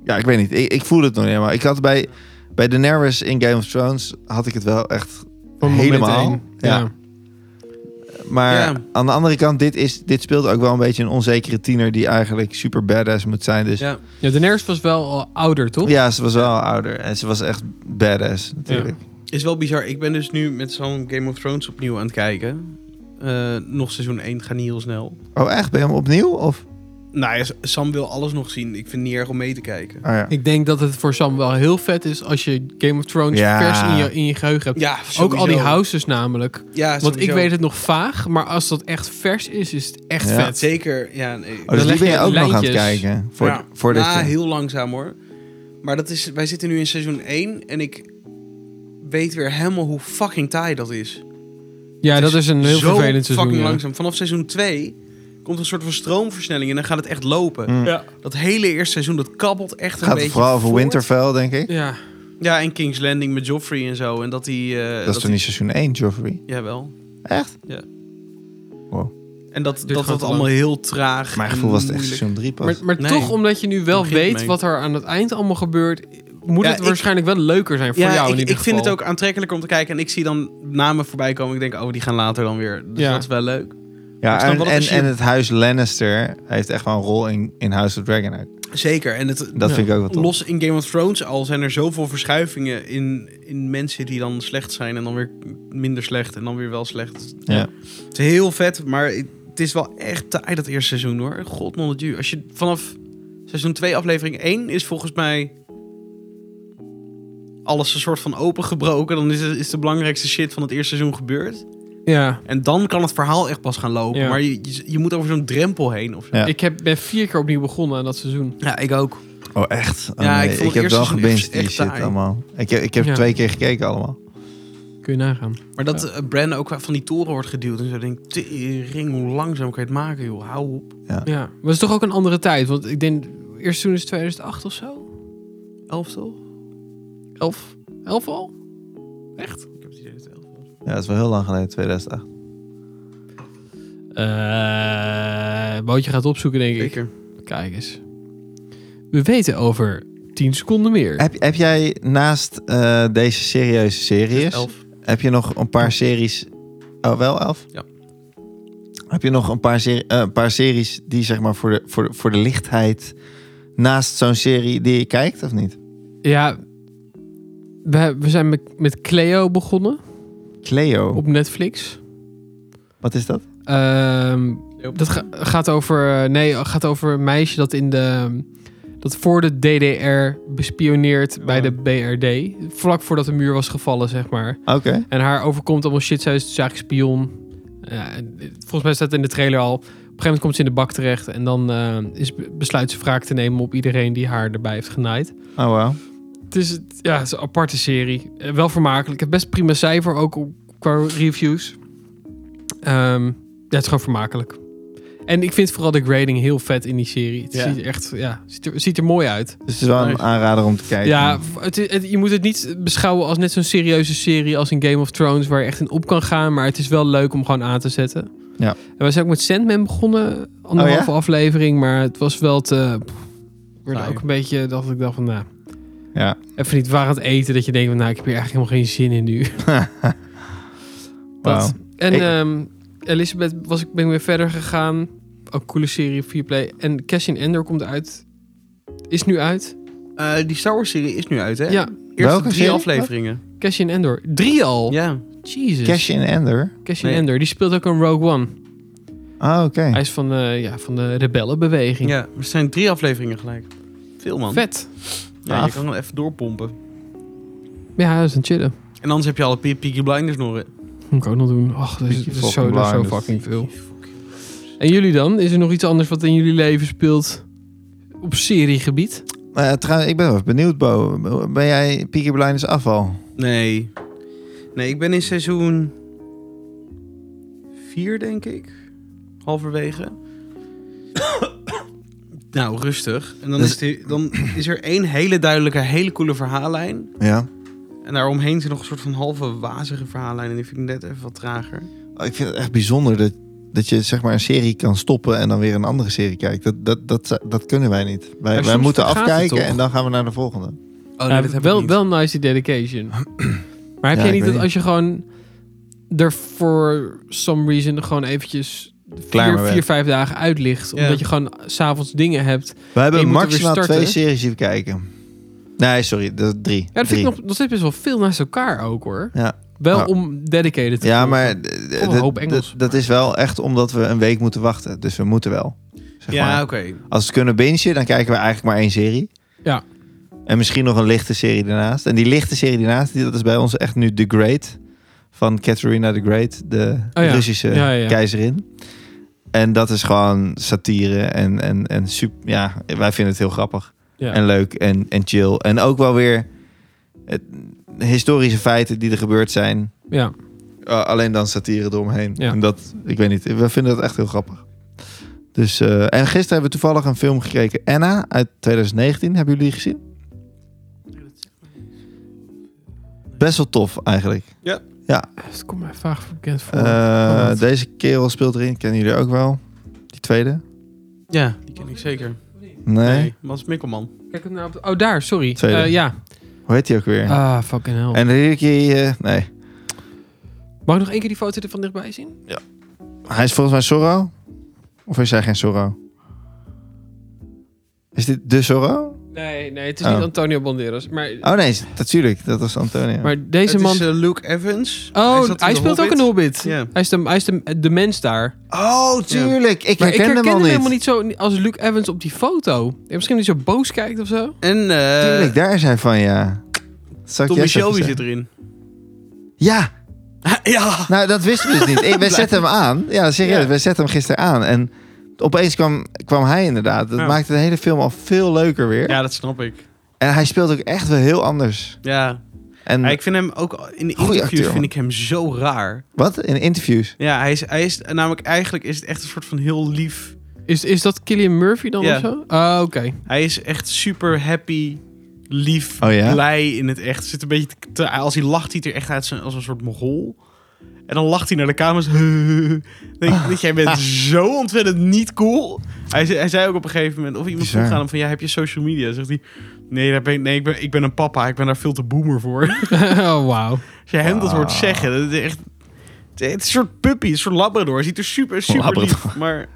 Ja, ik weet niet. Ik, ik voel het nog niet helemaal. Ik had bij, bij Daenerys in Game of Thrones... had ik het wel echt... Van moment Helemaal. één. Ja. Ja. Maar Ja. aan de andere kant, dit, is, dit speelt ook wel een beetje een onzekere tiener... die eigenlijk super badass moet zijn. Dus Ja. ja, Daenerys was wel al ouder, toch? ja, ze was wel ouder. En ze was echt badass natuurlijk. Is wel bizar. Ik ben dus nu met zo'n Game of Thrones opnieuw aan het kijken. Eh, nog seizoen 1, het gaat niet heel snel. Oh echt? Ben je hem opnieuw? Of? Oh, Nou ja, Sam wil alles nog zien. Ik vind het niet erg om mee te kijken. Oh, ja. Ik denk dat het voor Sam wel heel vet is als je Game of Thrones Ja. vers in je, in je geheugen hebt. Ja, Ook al die sowieso. houses namelijk. Ja, Want ik sowieso. weet het nog vaag, maar als dat echt vers is, is het echt Ja. vet. Zeker, ja. Nee. Oh, dus leg die ben je je ook nog aan het lijntjes. kijken. Voor, Ja. voor dit. Nou, eh, heel langzaam hoor. Maar dat is, wij zitten nu in seizoen 1 en ik weet weer helemaal hoe fucking taai dat is. Ja, Het dat is een heel zo vervelend seizoen. fucking ja. langzaam. Vanaf seizoen 2 komt een soort van stroomversnelling en dan gaat het echt lopen. mm. Ja. Dat hele eerste seizoen, dat kabbelt echt een Gaat beetje het vooral over voort. Winterfell, denk ik. Ja. Ja, en King's Landing met Joffrey en zo. En dat die... eh, dat is dat toen niet seizoen 1, Joffrey. die- Jawel. Echt? En dat Duurt dat, gewoon dat te allemaal heel traag Mijn gevoel was het echt moeilijk. seizoen 3 pas. Maar, maar Nee. toch, omdat je nu wel Begin weet mee. wat er aan het eind allemaal gebeurt, moet Ja, het ik- waarschijnlijk wel leuker zijn voor Ja, ik, jou in ieder ik geval. vind het ook aantrekkelijker om te kijken. En ik zie dan namen voorbij komen. Ik denk, oh, die gaan later dan weer. Dus Ja. dat is wel leuk. ik ja, snap en, wel dat en, als je- en het huis Lannister heeft echt wel een rol in, in House of Dragon. uit. Zeker. En het, Dat Ja. vind ik ook wel tof. los in Game of Thrones al zijn er zoveel verschuivingen in, in mensen die dan slecht zijn. En dan weer minder slecht. En dan weer wel slecht. Ja. Het is heel vet, maar het is wel echt taai dat eerste seizoen hoor. God non you. Als je vanaf seizoen 2 aflevering 1 is volgens mij alles een soort van opengebroken. Dan is, het, is de belangrijkste shit van het eerste seizoen gebeurd. Ja. En dan kan het verhaal echt pas gaan lopen. Ja. Maar je, je, je moet over zo'n drempel heen of zo. Ja. Ik heb, ben vier keer opnieuw begonnen aan dat seizoen. Ja, ik ook. Oh, echt? Oh, Ja, nee, ik ik, vond het heb eerste wel seizoen gebinged echt- die echt shit taai. allemaal. Ik heb, ik heb Ja. twee keer gekeken allemaal. Kun je nagaan. Maar dat eh, Bran ook van die toren wordt geduwd. En zo denk ik, tering, hoe langzaam kan je het maken, joh. Hou op. Ja. Maar het is toch ook een andere tijd, want ik denk, eerst toen is 2008 of zo? Elf toch? Elf? Elf al? Echt? Ik heb het idee dat het elf was. Ja, dat is wel heel lang geleden, 2008. Eh, bootje gaat opzoeken, denk ik. Zeker. Kijk eens. We weten over 10 seconden Eh. meer. Heb, heb jij naast eh, deze serieuze series... Elf. Heb je nog een paar series... Oh, wel elf? Ja. Heb je nog een paar, seri- eh, een paar series die zeg maar voor de, voor de, voor de lichtheid... naast zo'n serie die je kijkt, of niet? Ja, we, we zijn met, met Cleo begonnen Cleo. op Netflix. Wat is dat? Ehm, Yep. dat ga- gaat over. eh, Nee, gaat over een meisje dat in de. Dat voor de DDR bespioneert bij de BRD. Vlak voordat de muur was gevallen, zeg maar. Oké. En haar overkomt allemaal shit. Zij is dus eigenlijk spion. Ja, en, eh, volgens mij staat het in de trailer al. Op een gegeven moment komt ze in de bak terecht. En dan eh, is, besluit ze wraak te nemen op iedereen die haar erbij heeft genaaid. Oh, wow. Het is, ja, het is een aparte serie. Eh, Wel vermakelijk. Het best prima cijfer ook op- qua reviews. Ehm, ja, het is gewoon vermakelijk. En ik vind vooral de grading heel vet in die serie. Het Ja. ziet, er echt, ja, ziet, er, ziet er mooi uit. Dus het is wel een Nice. aanrader om te kijken. Ja, het, is- het- je moet het niet beschouwen als net zo'n serieuze serie als in Game of Thrones... waar je echt in op kan gaan. Maar het is wel leuk om gewoon aan te zetten. Ja. En we zijn ook met Sandman begonnen, anderhalve Oh ja? aflevering, maar het was wel te... pff, Ik werd Saai. ook een beetje, dat ik dacht van, nou, Ja. even niet waar het eten, dat je denkt van, nou, ik heb hier eigenlijk helemaal geen zin in nu. Wauw. Dat. En Ik- ehm, Elizabeth was ik, ben ik weer verder gegaan. Ook coole serie, 4-play. En Cash in Ender komt uit. Is nu uit. Eh, die Star Wars serie is nu uit, hè? Ja, Eerste Welke drie serie? afleveringen. Cash in Endor. Drie al. Ja. Jesus. Cash in Ender. Cash in Nee. Endor. Die speelt ook een Rogue One. Ah, oké. Hij is van de, ja, van de rebellenbeweging. ja, er zijn drie afleveringen gelijk. Veel, man. Vet. Ja, je Gaaf. kan wel even doorpompen. Ja, dat is een chillen. En anders heb je alle Pe- Peaky Blinders nog. hè. Moet ik ook nog doen. Ach, dat is, Peaky dat is zo, dat is zo Blinders. fucking veel. En jullie dan? Is er nog iets anders wat in jullie leven speelt? Op seriegebied? Eh, trouwens, ik ben wel even benieuwd, Bo. Ben jij Peaky Blinders afval? Nee. Nee, ik ben in seizoen... Vier, denk ik. Halverwege. nou, rustig. En dan, Dus- is die- dan is er één hele duidelijke, hele coole verhaallijn. Ja. En daaromheen zit nog een soort van halve wazige verhaallijn. En die vind ik net even wat trager. Oh, Ik vind het echt bijzonder dat, dat je zeg maar een serie kan stoppen en dan weer een andere serie kijkt. Dat, dat, dat, dat kunnen wij niet. Wij, Maar wij soms moeten vergaat het afkijken toch? en dan gaan we naar de volgende. Oh, Ja, wel, wel nice die dedication. maar heb Ja, jij ik niet weet dat niet. als je gewoon er voor some reason gewoon eventjes Klaar vier, mee vier bent. vijf dagen uit ligt, Ja. omdat je gewoon s'avonds dingen hebt. We Je hebben moet er maximaal weer starten. twee series die we kijken. Nee, sorry, dat is drie. Ja, dat vind Drie. ik nog, nog steeds best wel veel naast elkaar ook hoor. Ja. Wel Ja. om dedicated te Ja, volgen. maar d- een dat- hoop Engels. dat- dat is wel echt omdat we een week moeten wachten. Dus we moeten wel. Zeg maar. Ja, oké. Als we het kunnen bingen, dan kijken we eigenlijk maar één serie. Ja. En misschien nog een lichte serie daarnaast. En die lichte serie daarnaast, die, dat is bij ons echt nu The Great. Van Katerina the Great, de Oh ja. Russische Ja, ja, ja. keizerin. En dat is gewoon satire en, en, en super, ja, wij vinden het heel grappig. Ja. En leuk en, en chill. En ook wel weer het, historische feiten die er gebeurd zijn. ja. Uh, alleen dan satire eromheen. Ja. En dat, ik weet niet, we vinden dat echt heel grappig. Dus, eh, en gisteren hebben we toevallig een film gekeken. Anna uit 2019. Hebben jullie die gezien? Best wel tof eigenlijk. Het komt mij vaag bekend voor. Eh, Oh, wat. deze kerel speelt erin. Kennen jullie ook wel? Die tweede? Ja, die ken ik zeker. Nee. Nee, Mats Mikkelman. Kijk hem nou op de- Oh, daar, sorry. Tweede. Eh, ja. Hoe heet die ook weer? Ah, fucking hell. En Ricky, eh nee. Mag ik nog één keer die foto er van dichtbij zien? Hij is volgens mij Zorro. Of is hij geen Zorro? Is dit de Zorro? Nee, nee, het is Oh. niet Antonio Banderas. Maar, Oh nee, is- natuurlijk. Dat was Antonio. maar deze Het man... is eh, Luke Evans. Oh, zat in hij, The speelt ook Hobbit. een Hobbit. Ja. Hij is, de, hij is de, de mens daar. Oh, tuurlijk. Ik Maar ik herken herken hem al hem, niet. helemaal niet zo als Luke Evans op die foto. Ja, misschien dat hij zo boos kijkt of zo. En Tuurlijk, eh daar is hij van, ja. Zou ik Tommy Jesse even Shelby zeggen? zit erin. Ja, ja. nou dat wisten we dus niet. Ik, we zetten hem aan. Ja, serieus. Ja. We zetten hem gisteren aan. En opeens kwam, kwam hij inderdaad. Dat Ja. maakte de hele film al veel leuker weer. Ja, dat snap ik. En hij speelt ook echt wel heel anders. Ja. En Ja, ik vind hem ook in de Goeie interviews acteur, man. vind ik hem zo raar. wat? In interviews. Ja, hij is, hij is namelijk eigenlijk is het echt een soort van heel lief. Is, is dat Killian Murphy dan Ja. of zo? Ah, oké. Hij is echt super happy, lief, Oh ja? blij in het echt. Zit een beetje te- te, als hij lacht, ziet hij er echt uit zijn- als een soort mogol. En dan lacht hij naar de kamers. Denk ik, dat jij bent zo ontzettend niet cool. Hij, zei- hij zei ook op een gegeven moment, of iemand Bizar. vroeg aan hem van, ja, heb je social media? Zegt hij, nee, daar ben, ik- nee ik, ben, ik ben een papa, ik ben daar veel te boomer voor. oh, wauw. Als je hem dat hoort Ah. zeggen, dat is echt... Het is een soort puppy, een soort labrador. Hij ziet er super, super lief, Labrador. maar...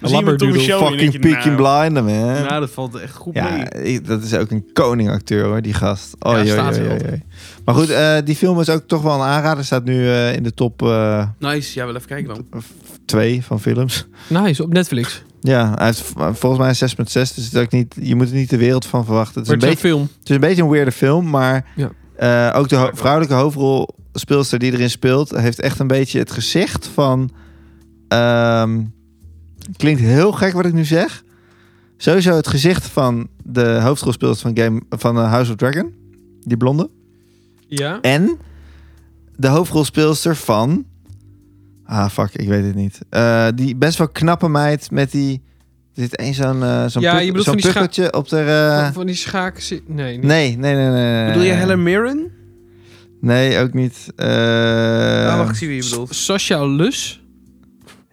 Een Zie je met Tommy labradoodle, Shelby en denk Fucking je, Peaky nou, Blinder, man. Nou, dat valt echt goed mee. Ja, eh, ik- dat is ook een koningacteur hoor, die gast. Oh, Ja, joh, staat joh, wel. joh, joh. Maar goed, eh, die film is ook toch wel een aanrader. Staat nu eh, in de top eh, Nice, ja, wel even kijken dan. twee van films. Nice, op Netflix. Ja, hij heeft v- volgens mij een 6.6, dus het is ook niet, je moet er niet de wereld van verwachten. Het is, Maar een het is een beetje, film. het is een beetje een weirde film, maar Ja. eh, ook de ho- vrouwelijke hoofdrolspeelster die erin speelt, heeft echt een beetje het gezicht van... ehm, klinkt heel gek wat ik nu zeg. Sowieso het gezicht van de hoofdrolspeelster van, Game, van eh, House of Dragon, die blonde. Ja. En de hoofdrolspeelster van. Ah, fuck, ik weet het niet. Eh, die best wel knappe meid met die. Er zit één zo'n eh zo'n Ja, puk- je bedoelt zo'n van die scha- pukkeltje op de. eh, Van die schaak... Nee, nee. Nee, nee, nee, nee, nee. Bedoel je nee. Helen Mirren? Nee, ook niet. Eh, Ah, Ah, wacht, ik zie wie je bedoelt. S- Sasha Lus?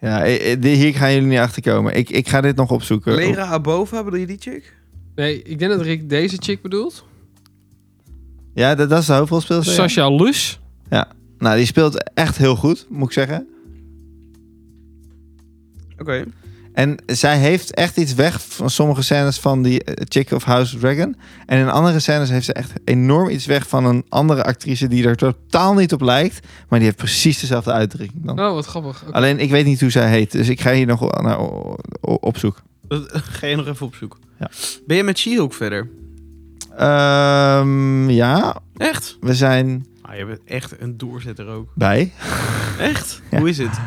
Ja, eh, eh, di- hier gaan jullie niet achter komen. Ik, ik ga dit nog opzoeken. Lera Abova, bedoel je die chick? Nee, ik denk dat Rick deze chick bedoelt. Ja, dat, dat is de hoofdrolspeelster. ja. Sasha Lus. Nou, die speelt echt heel goed, moet ik zeggen. Oké. En zij heeft echt iets weg van sommige scènes van die eh, chick of House of Dragon. En in andere scènes heeft ze echt enorm iets weg van een andere actrice die er totaal niet op lijkt. Maar die heeft precies dezelfde uitdrukking dan. Oh, wat grappig. Oké. Alleen ik weet niet hoe zij heet, dus ik ga hier nog wel naar o- o- op zoek. Dat- Ga je nog even op zoek. Ja. Ben je met She-Hulk verder? Ehm, ja, Echt? we zijn Ah, je bent echt een doorzetter ook. bij. Echt? Ja. Hoe is het?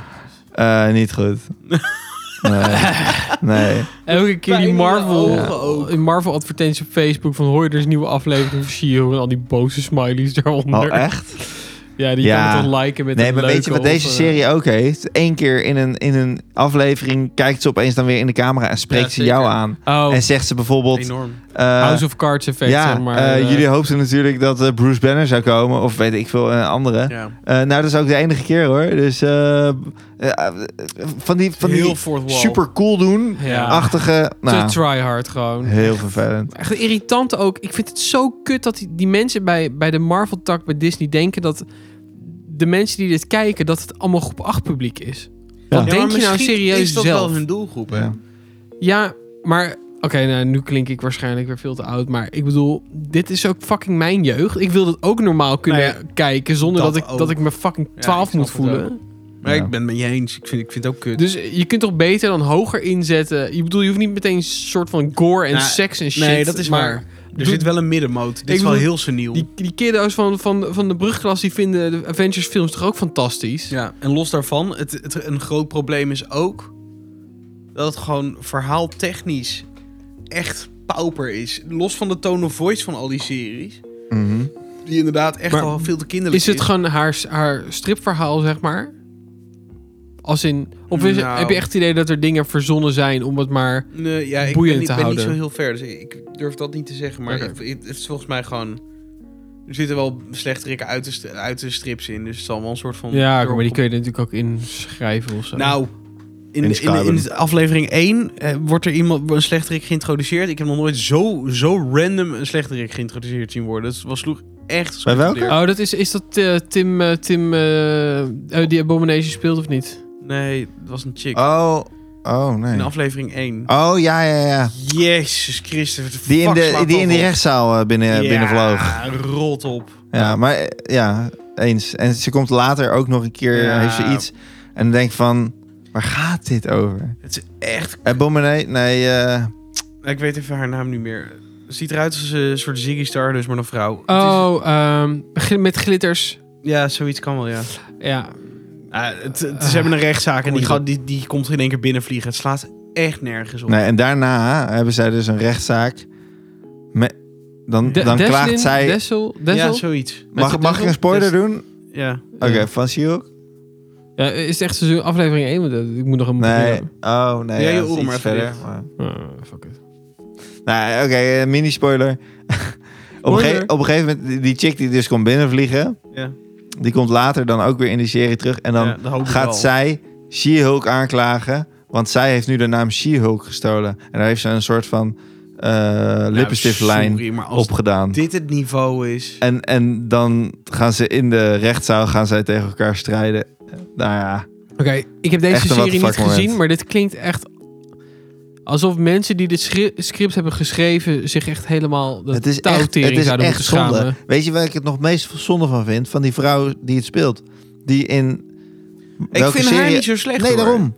Eh, niet goed. nee. nee. Elke keer die Pijn in de Marvel, ogen ook. in Marvel advertenties op Facebook van hoor je er is een nieuwe aflevering van She-Hulk en al die boze smileys daaronder. Oh, echt? Ja, die Ja. kan het dan liken met Nee, een maar weet je wat leuke deze of, eh, serie ook heeft? Eén keer in een, in een aflevering kijkt ze opeens dan weer in de camera en spreekt Ja, ze zeker. jou aan. Oh, En zegt ze bijvoorbeeld... Enorm. eh, House of Cards effect, ja, zeg maar. eh, eh, jullie hoopten natuurlijk dat eh, Bruce Banner zou komen. Of weet ik veel, een andere. Ja. Eh, nou, dat is ook de enige keer hoor. Dus eh, eh, eh, van die, van heel die fourth wall. super cool doen. Ja. Achtige, nou, Te tryhard gewoon. heel vervelend. Echt irritant ook. Ik vind het zo kut dat die, die mensen bij, bij de Marvel-tak bij Disney denken dat de mensen die dit kijken, dat het allemaal groep 8 publiek is. Wat Ja, denk maar je nou misschien serieus is dat zelf? wel hun doelgroep, hè? Ja. Ja, maar... Oké, nou, nu klink ik waarschijnlijk weer veel te oud. Maar ik bedoel, dit is ook fucking mijn jeugd. Ik wil dat ook normaal kunnen Nou kijken zonder dat dat, ik, ook. dat ik me fucking Ja, 12 ik snap moet het voelen. ook. Maar Ja. ik ben het met je eens. Ik vind, ik vind het ook kut. Dus je kunt toch beter dan hoger inzetten. Je bedoel, je hoeft niet meteen een soort van gore en Nou, seks en shit. nee, dat is waar. er doe- zit wel een middenmoot. Dit is wel bedoel, heel seniel. Die, die kiddo's van, van, van de brugklas die vinden de Avengers films toch ook fantastisch. Ja, en los daarvan, het, het, een groot probleem is ook dat het gewoon verhaaltechnisch echt pauper is. Los van de tone of voice van al die series, Mhm. die inderdaad echt Maar al veel te kinderlijk Is is. het gewoon haar, haar stripverhaal, zeg maar? Als in, of is, Nou. heb je echt het idee dat er dingen verzonnen zijn om het maar... Nee, ja, ik boeiend ben, niet- te ik ben niet zo houden? heel ver, dus ik durf dat niet te zeggen. Maar Oké. het, het- het is volgens mij gewoon... Er zitten wel slechterikken uit de, st- uit de strips in, dus het zal wel een soort van... Ja, dorp- maar die kun je natuurlijk ook inschrijven of zo. Nou, in, in, in, Skyrim. in aflevering 1 eh, wordt er iemand, een slechterik geïntroduceerd. Ik heb nog nooit zo, zo random een slechterik geïntroduceerd zien worden. Dat was sloeg echt... Bij welke? schrik op de Oh, dat is, is dat eh, Tim, eh, Tim eh, eh, die Abomination speelt of niet? leer. Nee, het was een chick. Oh, oh nee. In Nou, aflevering 1. Oh ja, ja, ja. Jezus Christus. wat Die in fuck de, slaat die in dat die op? rechtszaal eh, binnen, binnenvloog. Ja, rot op. Ja, maar eh, ja, eens. En ze komt later ook nog een keer, Ja. heeft ze iets. En dan denk ik van, waar gaat dit over? Het is echt... Abominate? Nee, eh Ik weet even haar naam niet meer. Het ziet eruit als een soort Ziggy Star, dus maar een vrouw. Het is- Oh, ehm, gl- met glitters. ja, zoiets kan wel, ja. Ja, Ah, het, het- ze hebben een Oh, rechtszaak en die, oei. gaat, die, die komt in één keer binnenvliegen. Het slaat echt nergens op. nee. En daarna hebben zij dus een rechtszaak. Met, dan De- dan Deslin, klaagt zij... Dessel, Dessel? Ja, zoiets. mag, met- mag ik een spoiler doen? Ja. Oké, van Shield? Ja, is het echt seizoen aflevering 1? Want eh, ik moet nog een Nee. Oh, nee. Ja, je ja, dat is oren iets maar even verder. dicht. maar- Eh, fuck it. Nou, oké, eh, mini-spoiler. op, een Spoiler. ge- op een gegeven moment, die- die chick die dus komt binnenvliegen... Ja. die komt later dan ook weer in die serie terug. En dan Ja, dat hoop ik wel. gaat zij She-Hulk aanklagen... want zij heeft nu de naam She-Hulk gestolen. En daar heeft ze een soort van eh, Ja, lippenstiftlijn sorry, maar als opgedaan. dit het niveau is... En, en dan gaan ze in de rechtszaal gaan zij tegen elkaar strijden. Nou ja, Oké, ik heb deze Echt een what serie the niet fuck moment. gezien, maar dit klinkt echt alsof mensen die dit schri- script hebben geschreven zich echt helemaal de het is echt, het touwtering is zouden echt moeten schamen. zonde. Weet je waar ik het nog meest zonde van vind? Van die vrouw die het speelt. Die in... ik vind haar niet zo slecht, Nee, hoor. daarom.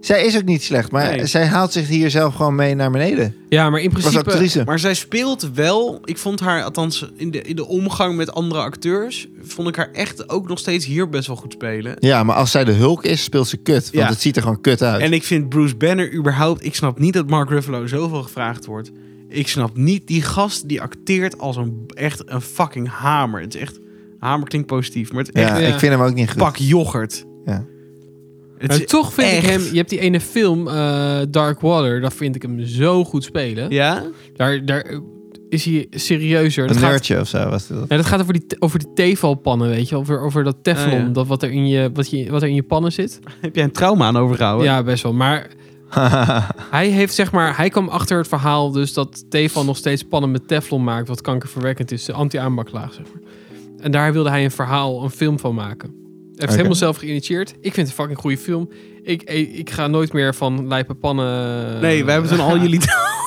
Zij is ook niet slecht, maar Nee. zij haalt zich hier zelf gewoon mee naar beneden. Ja, maar in Als principe actrice. Maar zij speelt wel... Ik vond haar, althans in de, in de omgang met andere acteurs... vond ik haar echt ook nog steeds hier best wel goed spelen. Ja, maar als zij de Hulk is, speelt ze kut. Want Ja. het ziet er gewoon kut uit. En ik vind Bruce Banner überhaupt... Ik snap niet dat Mark Ruffalo zoveel gevraagd wordt. Ik snap niet... Die gast die acteert als een, echt een fucking hamer. Het is echt... Hamer klinkt positief, maar het is ja, echt eh, ja. ik vind hem ook niet goed. pak yoghurt. Ja. Het Maar is toch vind ik echt- hem. Je hebt die ene film eh, Dark Water, daar vind ik hem zo goed spelen. Ja? Daar, daar, is hier serieuser. Dat Een gaat, nerdje of zo was dat. nee, dat gaat over die, te- over die tevalpannen, weet je. Over, over dat teflon, Ah, ja. Oh, dat wat er, in je, wat, je, wat er in je pannen zit. Heb jij een trauma aan overgehouden? Ja, best wel. Maar hij heeft zeg maar, hij kwam achter het verhaal dus dat Tefal nog steeds pannen met Teflon maakt, wat kankerverwekkend is, de anti-aanbaklaag zeg maar. En daar wilde hij een verhaal, een film van maken. Hij heeft Oké. helemaal zelf geïnitieerd. Ik vind het een fucking goede film. Ik, ik, ik ga nooit meer van lijpe pannen. Nee, wij hebben toen al jullie,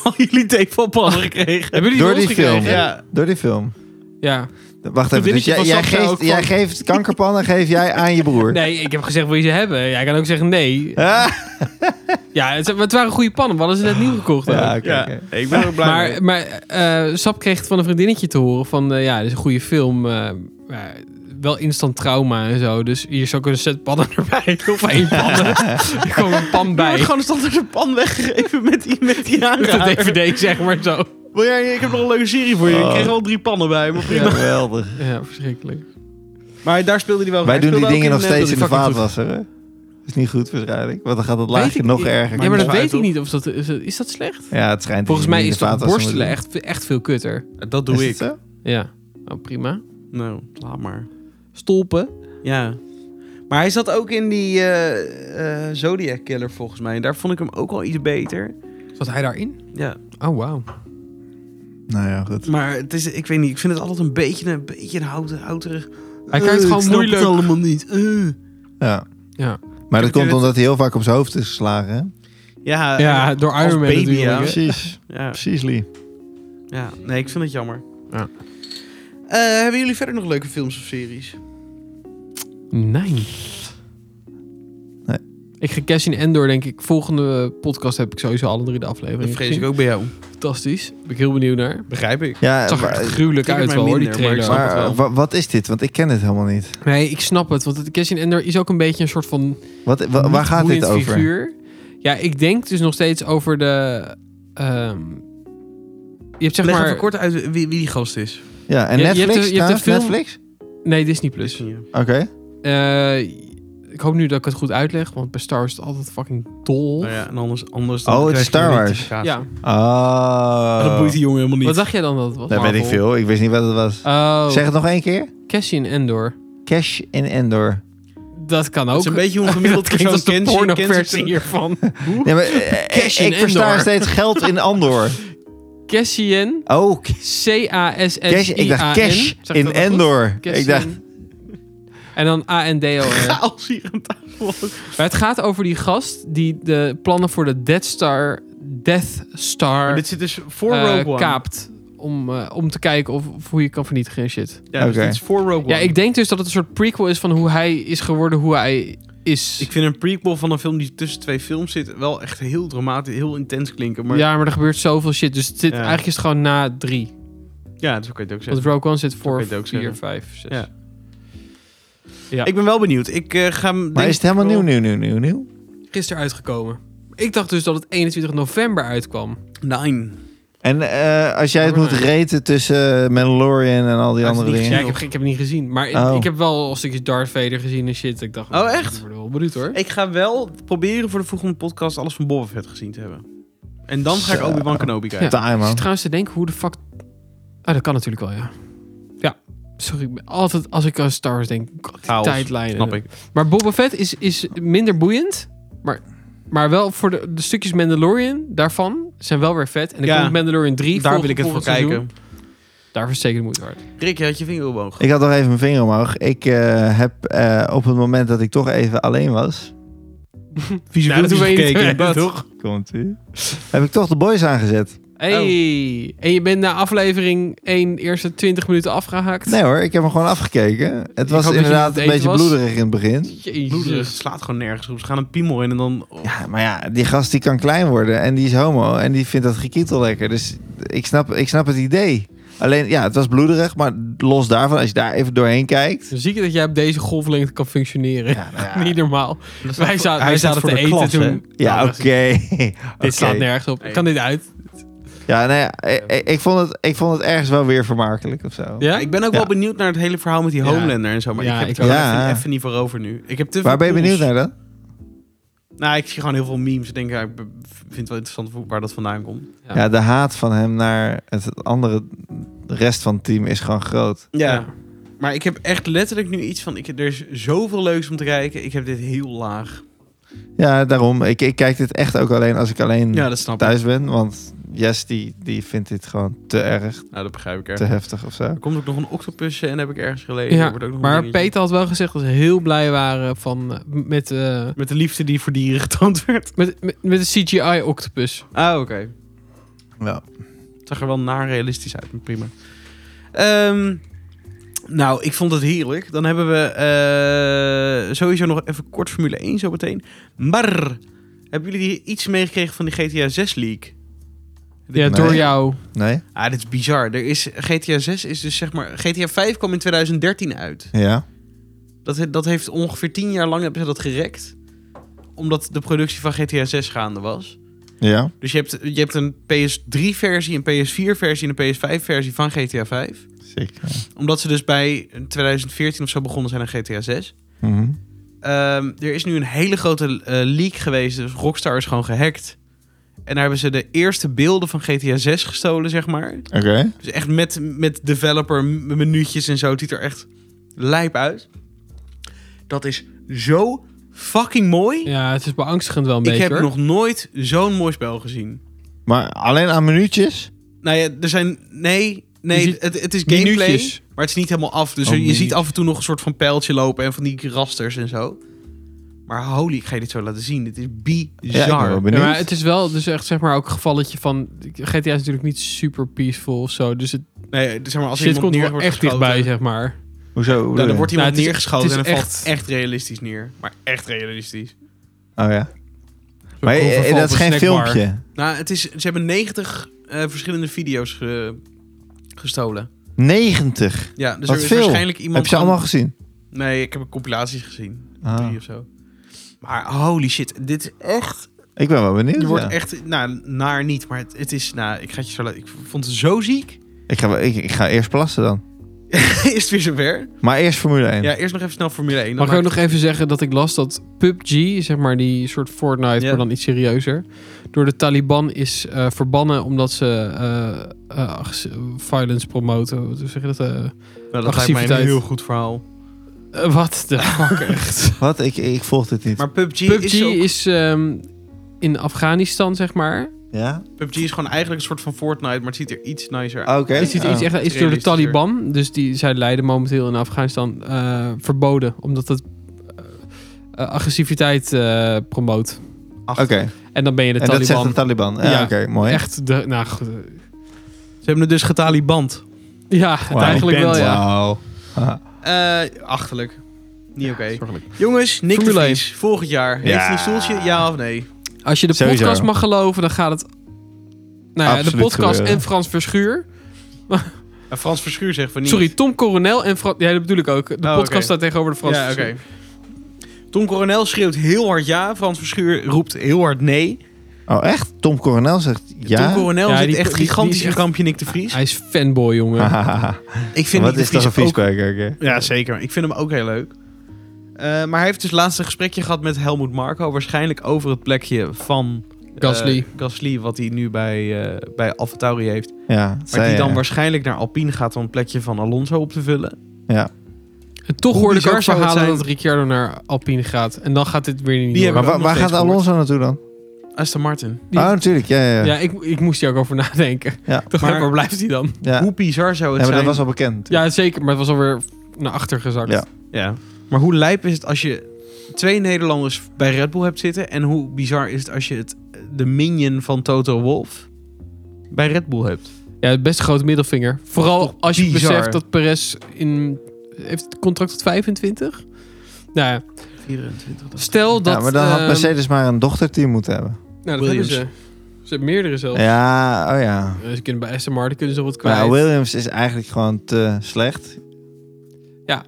al jullie tevelpannen gekregen. Hebben jullie Door Door die die gekregen? film. Ja. Door die film. Ja. Wacht even, dus vriendinnetje jij, van jij, Saskia ook geeft, van- jij geeft kankerpannen geef jij aan je broer. Nee, ik heb gezegd wil je ze hebben. Jij kan ook zeggen nee. Ah, Ja, het, het waren goede pannen. We hadden ze net nieuw gekocht. ook. ja, oké, oké. ik ben er blij mee. Maar, maar eh, Sap kreeg van een vriendinnetje te horen van... eh, ja, dit is een goede film. eh, maar wel instant trauma en zo. Dus hier zou ik een set pannen erbij. Of één pannen. er kwam een pan Er bij. wordt gewoon standaard een pan weggegeven met die, met die Met de aanrader. DVD, zeg maar zo. Wil jij, ik heb nog een leuke serie voor je. Oh. Ik kreeg al drie pannen bij, maar prima. Geweldig. Ja, verschrikkelijk. Maar daar speelde hij wel. Wij Hij doen die speelde dingen nog ook eh, steeds in de fucking vaatwasser. hè? Is niet goed waarschijnlijk, want dan gaat het Weet laagje ik nog niet. erger. Ja, maar dat uit, weet ik toch? niet. Of dat, is, dat- is dat slecht? Ja, het schijnt. Volgens dat mij je is niet in de toch vaatwasser borstelen moet echt, echt veel kutter. goed. Dat doen. doe Is ik. dat zo? Ja, nou prima. Nou, laat maar. Stolpen. Ja. Maar hij zat ook in die eh, eh, Zodiac Killer volgens mij. Daar vond ik hem ook al iets beter. Zat hij daarin? Ja. Oh, wauw. Nou ja, goed. Maar het is, ik weet niet, ik vind het altijd een beetje een, beetje een houten, houterig. Hij kijkt gewoon Eh, ik snap moeilijk. het allemaal niet. Eh. Ja. Ja, Maar dat Heb je komt dit- omdat hij heel vaak op zijn hoofd is geslagen. hè? Ja, ja door als Iron Man baby, natuurlijk, ja. hè? Precies, ja. precies Lee. Ja, nee, ik vind het jammer. Ja. Eh, hebben jullie verder nog leuke films of series? Nee. Nee. Ik ga Cash in Endor, denk ik. Volgende eh, podcast heb ik sowieso alle drie de Dat afleveringen vrees gezien. ik ook bij jou. Fantastisch. Ben ik heel benieuwd naar. Het Begrijp ik. Ja, zag er maar, eh, echt gruwelijk triggert uit mij wel, hoor, die minder, maar ik trailer. snap maar het wel. wa- wat is dit? Want ik ken het helemaal niet. Nee, ik snap het. Want het Cash in Endor is ook een beetje een soort van... Wat, wa- waar gaat dit niet-boeiend over? Figuur. Ja, ik denk dus nog steeds over de... ehm, je hebt zeg Leg maar... even kort uit wie, wie die gast is. Ja, en Je- je hebt Netflix? de- je hebt de trouwens? film- Netflix? Nee, Disney+. Plus. Oké. Eh, ik hoop nu dat ik het goed uitleg. Want bij Star is het altijd fucking dol. Nou ja, en anders, anders Oh, het krijg is je Star een Wars. rectificatie. Ja. Oh. Maar Dat boeit die jongen helemaal niet. Wat dacht jij dan dat het was? Dat weet ik Marvel? veel. Ik wist niet wat het was. Oh, Zeg het nog één keer. Cassian Endor. Cash in Endor. Dat kan Het ook. is een beetje hoe een gemiddeld dat klinkt persoon als de kent ze- kent ze- pornoversie hiervan. Nee, maar, eh, Cash in ik versta Endor. steeds geld in Andor. Cassian. Oh, k- cash. C-A-S-S-I-A-N. Ik dacht cash Zeg ik in dat goed? Endor. Cassian. Ik dacht, En dan A-N-D-O-R. chaos hier aan tafel. Maar het gaat over die gast die de plannen voor de Death Star... Death Star... Dit zit dus voor eh, Rogue One. kaapt. Om, eh, om te kijken of, of hoe je kan vernietigen en shit. Ja, dus Oké. dit is voor Rogue One. Ja, ik denk dus dat het een soort prequel is van hoe hij is geworden hoe hij is. Ik vind een prequel van een film die tussen twee films zit wel echt heel dramatisch, heel intens klinken. Maar ja, Ja, maar er gebeurt zoveel shit. Dus het zit, Ja. eigenlijk is het gewoon na drie. dat kan je het ook Want zeggen. Rogue One zit kan voor je het ook 4, zeggen. 5, 6. Ja. Ja. Ik ben wel benieuwd. Ik eh, ga hem. maar denk- is het helemaal nieuw, Oh. nieuw, nieuw, nieuw, nieuw? Gisteren uitgekomen. Ik dacht dus dat het 21 november uitkwam. Nine. En eh, als jij het Oh, moet nee. reten tussen Mandalorian en al die Maar ik heb het andere niet gezien. Ja, dingen. ik, heb, ik heb het niet gezien. Maar ik- Oh. ik heb wel een stukje Darth Vader gezien en shit. Ik dacht, nou, Oh, echt? Ik word er wel benieuwd hoor. Ik ga wel proberen voor de volgende podcast alles van Boba Fett gezien te hebben. En dan ga ik Zo. Obi-Wan Kenobi kijken. Time, Ik zit man. trouwens te denken hoe de fuck... Ah, dat kan natuurlijk wel, ja. Ja, sorry. ik ben Altijd als ik aan Star Wars denk, god, die Chaos, tijdlijnen. Snap ik. Maar Boba Fett is, is minder boeiend. Maar, maar wel voor de, de stukjes Mandalorian daarvan zijn wel weer vet. En dan Ja. komt Mandalorian Daar 3. volgend- wil ik het voor volgend seizoen. kijken. Daarvoor is zeker de moeite waard. Rick, je had je vinger omhoog. Ik had nog even mijn vinger omhoog. Ik eh, heb eh, op het moment dat ik toch even alleen was. Visueel Nou, dat doen we niet. gekeken. Nee, dat- toch? Komt u? Heb ik toch de boys aangezet? Hey. Oh. En je bent na aflevering 1 eerste 20 minuten afgehaakt. Nee hoor, ik heb hem gewoon afgekeken. Het was hoop dat je niet aan inderdaad het een eten beetje was. bloederig in het begin. Bloederig, Jezus. het slaat gewoon nergens op. Ze gaan een piemel in en dan... oh. Ja, maar ja, die gast die kan klein worden en die is homo en die vindt dat gekietel lekker. Dus ik snap, ik snap het idee. Alleen, ja, het was bloederig, maar los daarvan, als je daar even doorheen kijkt. Dan zie ik dat jij op deze golflengte kan functioneren. Ja, nou ja. Niet normaal. Dat staat Wij voor- zaten, hij wij staat voor zaten te de eten klas, hè? toen. Ja, Nou, oké. dat Dit slaat Oké. nergens op. Kan dit uit? Ja, nou ja, ik, ik vond het, ik vond het ergens wel weer vermakelijk of zo. Ja? Ik ben ook Ja. wel benieuwd naar het hele verhaal met die Ja. Homelander en zo. Maar Ja, ik heb ik het er ook. even, Ja. even niet voor over nu. Ik heb te veel Waar ben je pools. benieuwd naar dan? Nou, ik zie gewoon heel veel memes. Ik denk, ja, ik be- vind het wel interessant hoe- waar dat vandaan komt. Ja. de haat van hem naar het andere, de rest van het team is gewoon groot. Ja. Maar ik heb echt letterlijk nu iets van, ik, er is zoveel leuks om te kijken. Ik heb dit heel laag. Ja, daarom. Ik, ik kijk dit echt ook alleen als ik alleen Ja, dat snap ik. Hm. thuis ben. Want Jess, die, die vindt dit gewoon te erg, Nou, dat begrijp ik te erg. heftig of zo. Er komt ook nog een octopus en heb ik ergens gelezen. Ja, Er wordt ook nog een maar dingetje. Peter had wel gezegd dat ze heel blij waren van, eh, met, eh, Met de liefde die voor dieren getoond werd. met, met, met de CGI-octopus. Ah, oké. Ja. Het zag er wel naar realistisch uit, maar prima. Ehm, nou, ik vond het heerlijk. Dan hebben we eh, sowieso nog even kort Formule 1 zo meteen. Maar, hebben jullie hier iets meegekregen van die GTA 6 leak? Ja, Nee. door jou. Nee? Ah, dit is bizar. Er is, GTA 6 is dus zeg maar... GTA 5 kwam in 2013 uit. Ja. Dat, he- dat heeft ongeveer 10 jaar lang hebben ze dat gerekt. Omdat de productie van GTA 6 gaande was. Ja. Dus je hebt, je hebt een PS3-versie, een PS4-versie en een PS5-versie van GTA 5. Zeker. Omdat ze dus bij 2014 of zo begonnen zijn aan GTA 6. Mhm. Ehm, er is nu een hele grote eh, leak geweest. Dus Rockstar is gewoon gehackt. En daar hebben ze de eerste beelden van GTA 6 gestolen, zeg maar. Oké. Dus echt met, met developer m- menu'tjes en zo. Het ziet er echt lijp uit. Dat is zo fucking mooi. Ja, het is beangstigend wel een Ik beetje, heb hoor. nog nooit zo'n mooi spel gezien. Maar alleen aan minuutjes? Nou ja, er zijn. Nee, Je nee ziet het, het is gameplay. minuutjes. Maar het is niet helemaal af. Dus Oh, je- je ziet minuutjes. af en toe nog een soort van pijltje lopen en van die rasters en zo. Maar holy, ik ga je dit zo laten zien. Dit is Ja, ik ben bizar. wel Ja, benieuwd. maar het is wel dus echt zeg maar ook een gevalletje van... GTA is natuurlijk niet super peaceful of zo. Dus het nee, zeg maar, als er shit iemand komt er neer wel wordt echt geschoten, dichtbij, zeg maar. Hoezo? Hoe nou, bedoel dan je? wordt Nou, iemand het is- neergeschoten het en is dan echt- valt echt realistisch neer. Maar echt realistisch. Oh ja. Zo'n Maar eh, overval dat op is een geen snackbar. filmpje. Nou, het is, ze hebben 90 eh, verschillende video's ge- gestolen. 90. Ja, dus Wat er is veel. waarschijnlijk iemand... Heb je ze van- allemaal gezien? Nee, ik heb compilaties gezien. Ah. Drie of zo. Maar holy shit, dit is echt Ik ben wel benieuwd. Je wordt ja. echt, nou, naar niet, maar het, het is, nou, ik ga het je zo laten- Ik vond het zo ziek. ik, ga, wel- ik, ik ga eerst plassen dan. is het weer zover? Maar eerst Formule 1. Ja, eerst nog even snel Formule 1. dan Mag ik ook maak- nog even zeggen dat ik las dat PUBG, zeg maar die soort Fortnite, Ja. maar dan iets serieuzer, door de Taliban is eh, verbannen omdat ze eh, eh, ag- violence promoten. Hoe zeg je dat? eh? Nou, dat lijkt mij een agressiviteit. heel goed verhaal. Eh, wat de fuck echt? Wat? Ik, ik volg dit niet. Maar PUBG, PUBG is, is ook, ehm, in Afghanistan, zeg maar. ja? PUBG is gewoon eigenlijk een soort van Fortnite, maar het ziet er iets nicer uit. Oké. Is, dit Oh. iets, echt, is door de Realistischer. Taliban, dus die, zij leiden momenteel in Afghanistan, eh, verboden. Omdat het eh, eh, agressiviteit eh, promoot. Oké. En dan ben je de En dat zegt Taliban. de Taliban. Ja, Ja. Oké, mooi. Echt, de, nou goed. eh, Ze hebben het dus getaliband. Ja, Wauw. eigenlijk wel, ja. Wauw. Ah. Haha. Eh achterlijk. Niet oké. Zorgelijk. Jongens, Nick Formule de één. Vries, volgend jaar. Heeft Ja. hij een stoeltje? Ja of nee? Als je de Sowieso. podcast mag geloven, dan gaat het... Nou ja, de Absoluut podcast gebeuren. en Frans Verschuur. En Frans Verschuur zegt van niet. Oh, Sorry, Tom Coronel en Frans... Ja, dat bedoel ik ook. De oké. podcast staat tegenover de Frans ja, oké. Verschuur. Tom Coronel schreeuwt heel hard ja. Frans Verschuur roept heel hard nee. Oh, echt? Tom Coronel zegt Tom ja? Coronel Ja, zit die- echt die- die gigantisch is in echt- kampje Nick de Vries. Hij is fanboy, jongen. Hahaha. Ik vind Wat Nick is de dat Vries een ook... vieskwijker? oké. Ja, zeker. Ik vind hem ook heel leuk. Eh, maar hij heeft dus laatst een gesprekje gehad met Helmoet Marco. Waarschijnlijk over het plekje van... eh, Gasly. Gasly, wat hij nu bij, eh bij AlphaTauri heeft. Ja, Maar zei die dan je. waarschijnlijk naar Alpine gaat om het plekje van Alonso op te vullen. Ja. En toch Hoe hoorde ik bizar ook zou het verhalen zijn- dat Ricciardo naar Alpine gaat. En dan gaat dit weer niet Die door. hebben- Maar ook wa- nog waar steeds gaat gehoord. Alonso naartoe dan? Aston Martin. Die- Oh, natuurlijk. Ja, ja, ja. Ja, ik, ik moest hier ook over nadenken. Ja. Toch, Maar- waar blijft hij dan? Ja. Hoe bizar zou Ja, het maar zijn... dat was al bekend. Ja, zeker. Maar het was alweer naar achter gezakt. Ja. Ja. Maar hoe lijp is het als je twee Nederlanders bij Red Bull hebt zitten? En hoe bizar is het als je het, de minion van Toto Wolf bij Red Bull hebt? Ja, best een grote middelvinger. Vooral als je bizar. beseft dat Perez in heeft het contract tot 25. Nou, ja, 24. dat- stel dat. ja, maar dan had ehm, Mercedes maar een dochterteam moeten hebben. Nou, dat hebben Williams. ze. Ze hebben meerdere zelfs. Ja, oh ja. Eh, Ze kunnen bij Aston Martin kunnen ze wat kwijt. Maar Williams is eigenlijk gewoon te slecht. Ja.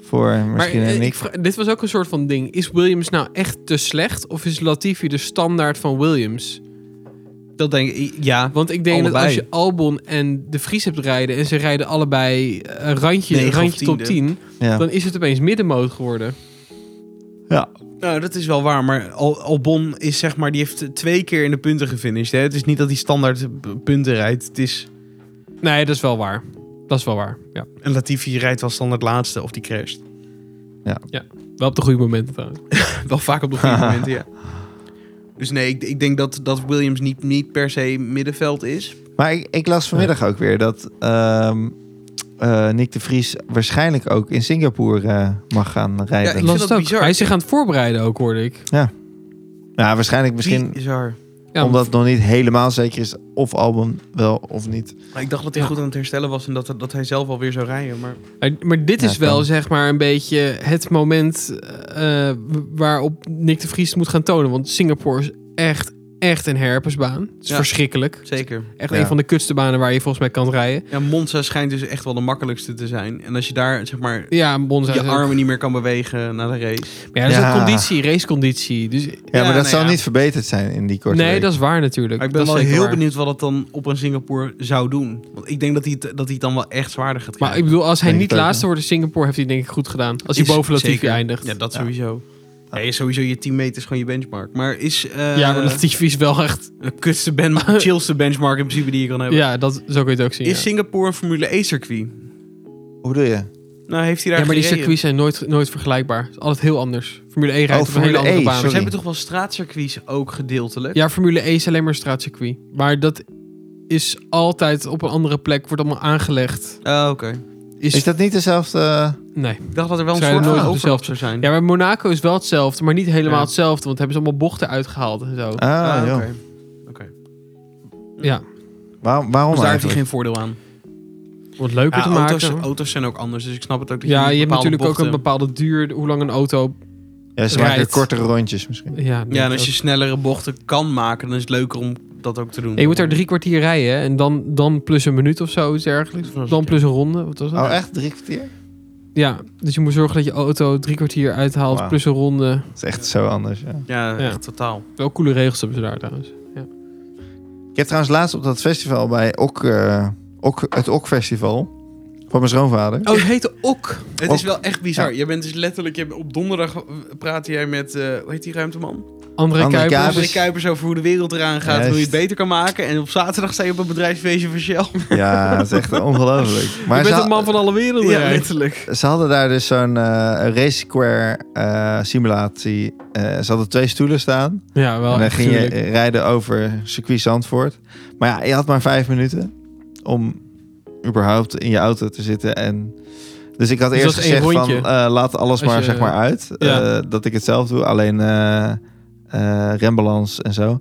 Voor maar misschien eh, een ik Nick. vra- dit was ook een soort van ding. Is Williams nou echt te slecht? Of is Latifi de standaard van Williams? Dat denk ik, ja. Want ik denk dat Allebei. als je Albon en de Vries hebt rijden... en ze rijden allebei eh, een randje, Negen een of randje top tiende. 10... Ja. dan is het opeens middenmoot geworden. Ja. Nou, dat is wel waar. Maar Al- Albon is zeg maar, die heeft twee keer in de punten gefinished. Hè? Het is niet dat hij standaard p- punten rijdt. Het is Nee, dat is wel waar. Dat is wel waar. Ja. een Latifi rijdt wel standaard laatste of die crasht. Wel op de goede momenten trouwens. wel vaak op de goede momenten, ja. Dus nee, ik, ik denk dat, dat Williams niet, niet per se middenveld is. Maar ik, ik las vanmiddag ook weer dat ehm, eh, Nick de Vries waarschijnlijk ook in Singapore eh, mag gaan Ja, rijden. ik- Ja, Las vind het dat ook. bizar. Hij is zich aan het voorbereiden ook, hoorde ik. Nou, waarschijnlijk misschien Bizar. Ja, omdat het nog niet helemaal zeker is of Albon wel of niet. Maar ik dacht dat hij goed aan het herstellen was en dat, dat hij zelf alweer zou rijden. Maar Maar, maar dit Ja, is wel kan. zeg maar een beetje het moment eh, waarop Nick de Vries het moet gaan tonen. Want Singapore is echt, echt een herpesbaan. Het is Ja. verschrikkelijk. zeker. Echt Ja. een van de kutste banen waar je volgens mij kan rijden. Ja, Monza schijnt dus echt wel de makkelijkste te zijn. En als je daar zeg maar Ja, Monza je is ook- armen niet meer kan bewegen na de race. Maar Ja, dat is Ja. ook conditie, raceconditie. Dus, Ja, maar Ja, dat nou zal ja. niet verbeterd zijn in die korte nee, week. dat is waar natuurlijk. Maar ik ben Dat wel is zeker heel waar. benieuwd wat het dan op een Singapore zou doen. Want ik denk dat hij het, dat hij het dan wel echt zwaarder gaat Maar krijgen. ik bedoel, als hij Denk niet het ook, laatste wordt in Singapore, heeft hij denk ik goed gedaan. Als hij Is- boven Latifi zeker. eindigt. Ja, dat Ja. sowieso. Ja, je- sowieso je 10 meter is gewoon je benchmark. Maar is... eh, ja, maar Latifi is wel echt... De kutste, ben chillste benchmark in principe die je kan hebben. Ja, dat, zo kun je het ook zien. Is ja. Singapore een Formule E-circuit? Hoe doe je? Nou, heeft hij daar Ja, maar die gereden? circuits zijn nooit, nooit vergelijkbaar. Het is altijd heel anders. Formule 1 rijdt Oh, op een hele Formule andere E, baan. Maar ze sorry. hebben toch wel straatcircuits ook gedeeltelijk? Ja, Formule E is alleen maar een straatcircuit. Maar dat is altijd op een andere plek, wordt allemaal aangelegd. Ah, oké. Is, Is dat niet dezelfde... Nee. Ik dacht dat er wel een Zou je soort nooit van op overlap dezelfde- zou zijn. Ja, maar Monaco is wel hetzelfde, maar niet helemaal Ja. hetzelfde. Want hebben ze allemaal bochten uitgehaald en zo. Ah, Ah, joh. oké. Oké. Ja, Waarom, waarom Dus daar heeft hij eigenlijk? geen voordeel aan. om het leuker te Ja, maken. auto's, auto's zijn ook anders, dus ik snap het ook. Dat ja, niet je hebt bepaalde natuurlijk ook een bochten- bepaalde duur, hoe lang een auto... Ja, ze maken rijdt. kortere rondjes misschien. Ja, Ja, en als je snellere bochten kan maken, dan is het leuker om dat ook te doen. Nee, je moet daar drie kwartier rijden hè, en dan, dan plus een minuut of zo, iets dergelijks. Dat was Dan het, plus een ronde, wat was dat? Oh, echt? Drie kwartier? Ja, dus je moet zorgen dat je auto drie kwartier uithaalt, Wauw. plus een ronde. Dat is echt zo anders, ja. Ja, Ja. echt totaal. Wel coole regels hebben ze daar trouwens. Ik heb trouwens laatst op dat festival bij Ok, eh, Ok- het Ok Festival van mijn schoonvader. Oh, het heette ook. Het Ook- is wel echt bizar. ja. Je bent dus letterlijk... Je, op donderdag eh, praat jij met... eh hoe heet die ruimteman? André, André Kuipers. Kuipers. André Kuipers over hoe de wereld eraan gaat en hoe je het Juist. beter kan maken. En op zaterdag sta je op een bedrijfsfeestje van Shell. Ja, dat is echt ongelooflijk. Je Maar ze, bent ha- een man van alle werelden. Ja, hè? letterlijk. ze hadden daar dus zo'n eh, race square eh, simulatie. Eh, ze hadden twee stoelen staan. Ja, wel. en dan echt ging je tuurlijk. rijden over circuit Zandvoort. Maar ja, je had maar vijf minuten om überhaupt in je auto te zitten. En... Dus ik had Dus eerst dat is één gezegd van rondje. eh, laat alles Als maar, je- zeg maar uit. Ja. Eh, dat ik het zelf doe. Alleen eh eh, rembalans en zo.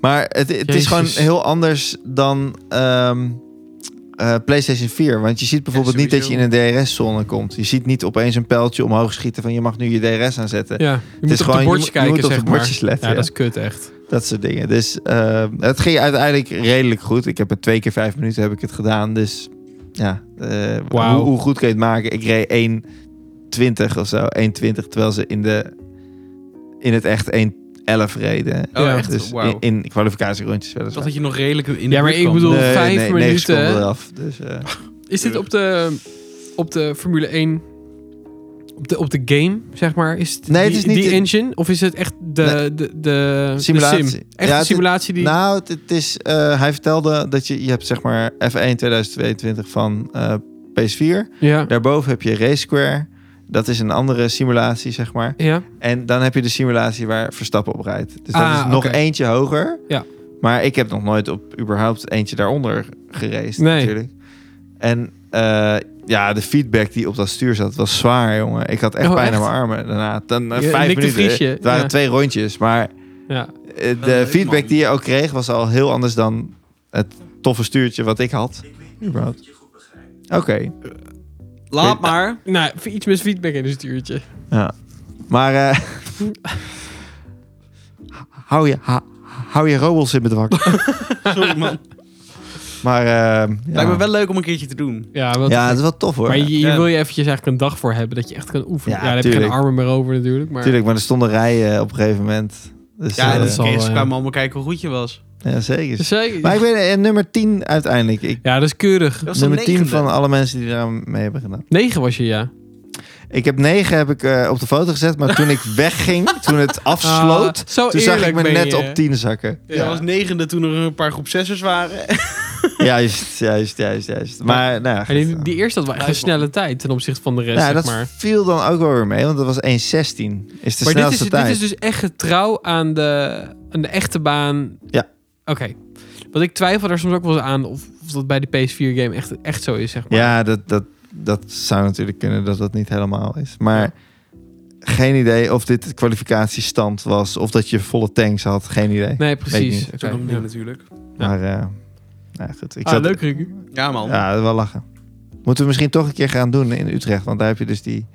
Maar het, het is Jezus. gewoon heel anders dan ehm, eh, PlayStation 4. Want je ziet bijvoorbeeld niet dat je in een DRS-zone komt. Je ziet niet opeens een pijltje omhoog schieten van je mag nu je DRS aanzetten. Ja, je moet eh, is op gewoon- de bordjes je moet- je kijken, moet op de zeg bordjes maar. letten, ja, ja. dat is kut, echt. Dat soort dingen. Dus eh, het ging uiteindelijk redelijk goed. Ik heb het twee keer vijf minuten heb ik het gedaan. Dus ja, eh, Wauw. hoe, hoe goed kun je het maken? Ik reed 1.20 of zo. 1.20, terwijl ze in, de, in het echt 1.11 reden. Oh, Ja. echt? Dus Wauw. in, in kwalificatierondjes Ik weliswaar. dacht dat je nog redelijk in de Ja, maar buurt ik kwam. bedoel- Nee, vijf nee, negen minuten, seconden hè? eraf. Dus, eh, Is dit op de, op de Formule 1, op de, op de game, zeg maar? Is het Nee, die, het is niet die de- engine? Of is het echt de, de, Nee. de, de Simulatie. sim? Ja, Echt het een is- simulatie die... Nou, het, het is, eh, hij vertelde dat je, je hebt zeg maar F1 2022 van eh, PS4. ja. Daarboven heb je Race Square. Dat is een andere simulatie, zeg maar. ja. En dan heb je de simulatie waar Verstappen op rijdt. Dus dat Ah, is nog oké. eentje hoger. Ja. Maar ik heb nog nooit op überhaupt eentje daaronder geraced Nee. natuurlijk. En eh, ja, de feedback die op dat stuur zat was zwaar, jongen. Ik had echt Oh, pijn echt? aan mijn armen daarna. Dan eh, Je vijf likte minuten. Friesje, Het waren ja. twee rondjes, maar ja. eh, leuk, de feedback man. die je ook kreeg was al heel anders dan het toffe stuurtje wat ik had. Überhaupt. Oké. Laat maar. Nou, iets met feedback in een stuurtje. Ja. Maar eh, hou je, ha- hou je robots in bedwang. Sorry, man. maar eh, ja. Lijkt me wel leuk om een keertje te doen. Ja, want ja, dat is wel tof hoor. Maar je, hier Ja. wil je eventjes eigenlijk een dag voor hebben dat je echt kan oefenen. Ja, Ja, daar heb je geen tuurlijk. armen meer over natuurlijk. Maar Tuurlijk, maar er stonden rijen op een gegeven moment. Dus, Ja, eh, en dat dat is al, is eh, kwamen allemaal kijken hoe goed je was. ja, zeker. Zeker. Maar ik ben eh, nummer 10 uiteindelijk. Ik, Dus Ja, dat is keurig. Dat was nummer de 10 negende. van alle mensen die daar mee hebben gedaan. Negen was je, ja. Ik heb negen heb ik, eh, op de foto gezet, maar toen ik wegging, toen het afsloot, Ah, zo toen zag ik eerlijk me ben net je. op tien zakken. Jij was negende toen er een paar groep zessers waren. Juist, juist, juist, juist. Maar nou ja, En die, goed. die eerste had wel echt een snelle tijd ten opzichte van de rest, Nou, zeg dat maar. viel dan ook wel weer mee, want dat was 1.16. Is de Maar dit is, snelste tijd. dit is dus echt getrouw aan de, aan de echte baan. Ja. Oké. Want ik twijfel daar soms ook wel eens aan of, of dat bij de PS4-game echt, echt zo is, zeg maar. Ja, dat, dat, dat zou natuurlijk kunnen dat dat niet helemaal is. Maar geen idee of dit de kwalificatiestand was of dat je volle tanks had. Geen idee. Nee, Weet precies. niet. Oké, Toen nog ja. niet natuurlijk. Ja. Maar eh, nou ja, goed. Ik Ah, zat- leuk, Riku. Ja man. Ja, wel lachen. Moeten we misschien toch een keer gaan doen in Utrecht. Want daar heb je dus die...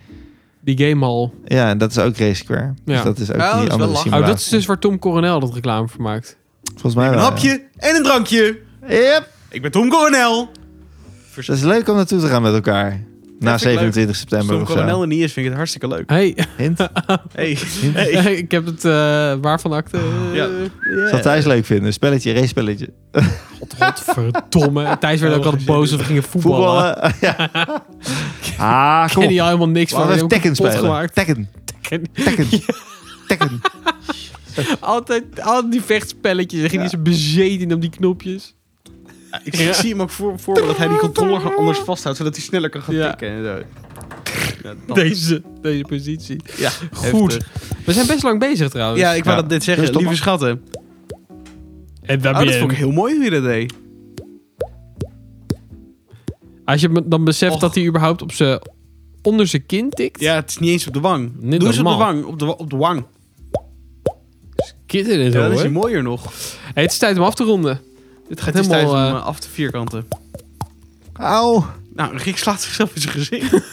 Die gamehall. Ja, en dat is ook Race Square. Dus Ja. dat is ook Ja, dat die is wel andere lachen. simulatie. Oh, dat is dus waar Tom Coronel dat reclame voor maakt. Volgens mij Een wel, ja. hapje en een drankje. Yep. Ik ben Tom Coronel. Dat is leuk om naartoe te gaan met elkaar. Na vind ik leuk. 27 Als september Tom of zo. Coronel er niet is, vind ik het hartstikke leuk. Hey, Hint? Hey. ik heb het eh waarvan acte. Ja. Zal Thijs leuk vinden. Spelletje, race spelletje. Godverdomme. Thijs werd ook altijd boos of we gingen voetballen. Voetballen. eh, ja. Ah, kom Ken op. die al helemaal niks van. Laten we Die even Tekken hebben hem spelen. kapot gemaakt. Tekken. Tekken. Tekken. Altijd, altijd die vechtspelletjes. Dan ging hij zo bezeten om die knopjes. Ik zie- zie hem ook voor, voor me dat hij die controller gewoon anders vasthoudt, zodat hij sneller kan gaan Ja. tikken. En zo. Ja, dat- Deze, deze positie. ja, Goed. heftig. We zijn best lang bezig trouwens. Ja, ik wou Ja. dat net zeggen. Dus Tom- Lieve schatten. en daar Oh, dat vond ik heel mooi hoe je dat deed. Als je me- dan beseft Och. dat hij überhaupt op zijn onder zijn kin tikt. Ja, het is niet eens op de wang. Niet Doe eens op de normaal. wang. Op de, wa- op de wang. Kitten en Ja, zo dan is hoor. hij mooier nog. Hey, het is tijd om af te ronden. Dit gaat Het is tijd om helemaal... eh, eh, af te vierkanten. Auw. Nou, Rick slaat zichzelf in zijn gezicht.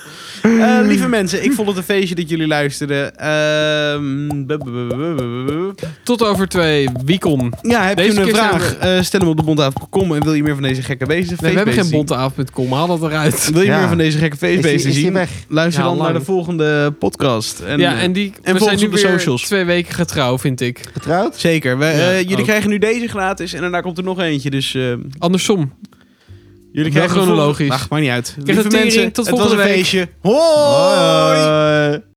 Eh, lieve mensen, ik vond het een feestje dat jullie luisterden. Ehm, bu- bu- bu- bu- bu- bu- bu. tot over twee weken. ja, heb Deze je een keer zijn vraag? Eh, stel hem op de bondhaven.com en wil je meer van deze gekke beesten? Nee, we hebben geen Feestbeesten zien? bonteaf.com. Haal dat eruit. Wil je Ja. meer van deze gekke Is die, is feestbeesten die zien? weg? Luister Ja, dan naar lang. de volgende podcast. En, eh, ja, en die, we volg zijn ons nu op de weer socials. twee weken getrouw, vind ik. Getrouwd? Zeker. We, eh, Ja, jullie ook. krijgen nu deze gratis en daarna komt er nog eentje. Dus eh, Andersom. jullie Wel krijgen de volgende- chronologisch. Ach, maakt niet uit. de Lieve tering, mensen, tot het was volgende een week. feestje. Hoi! Hoi.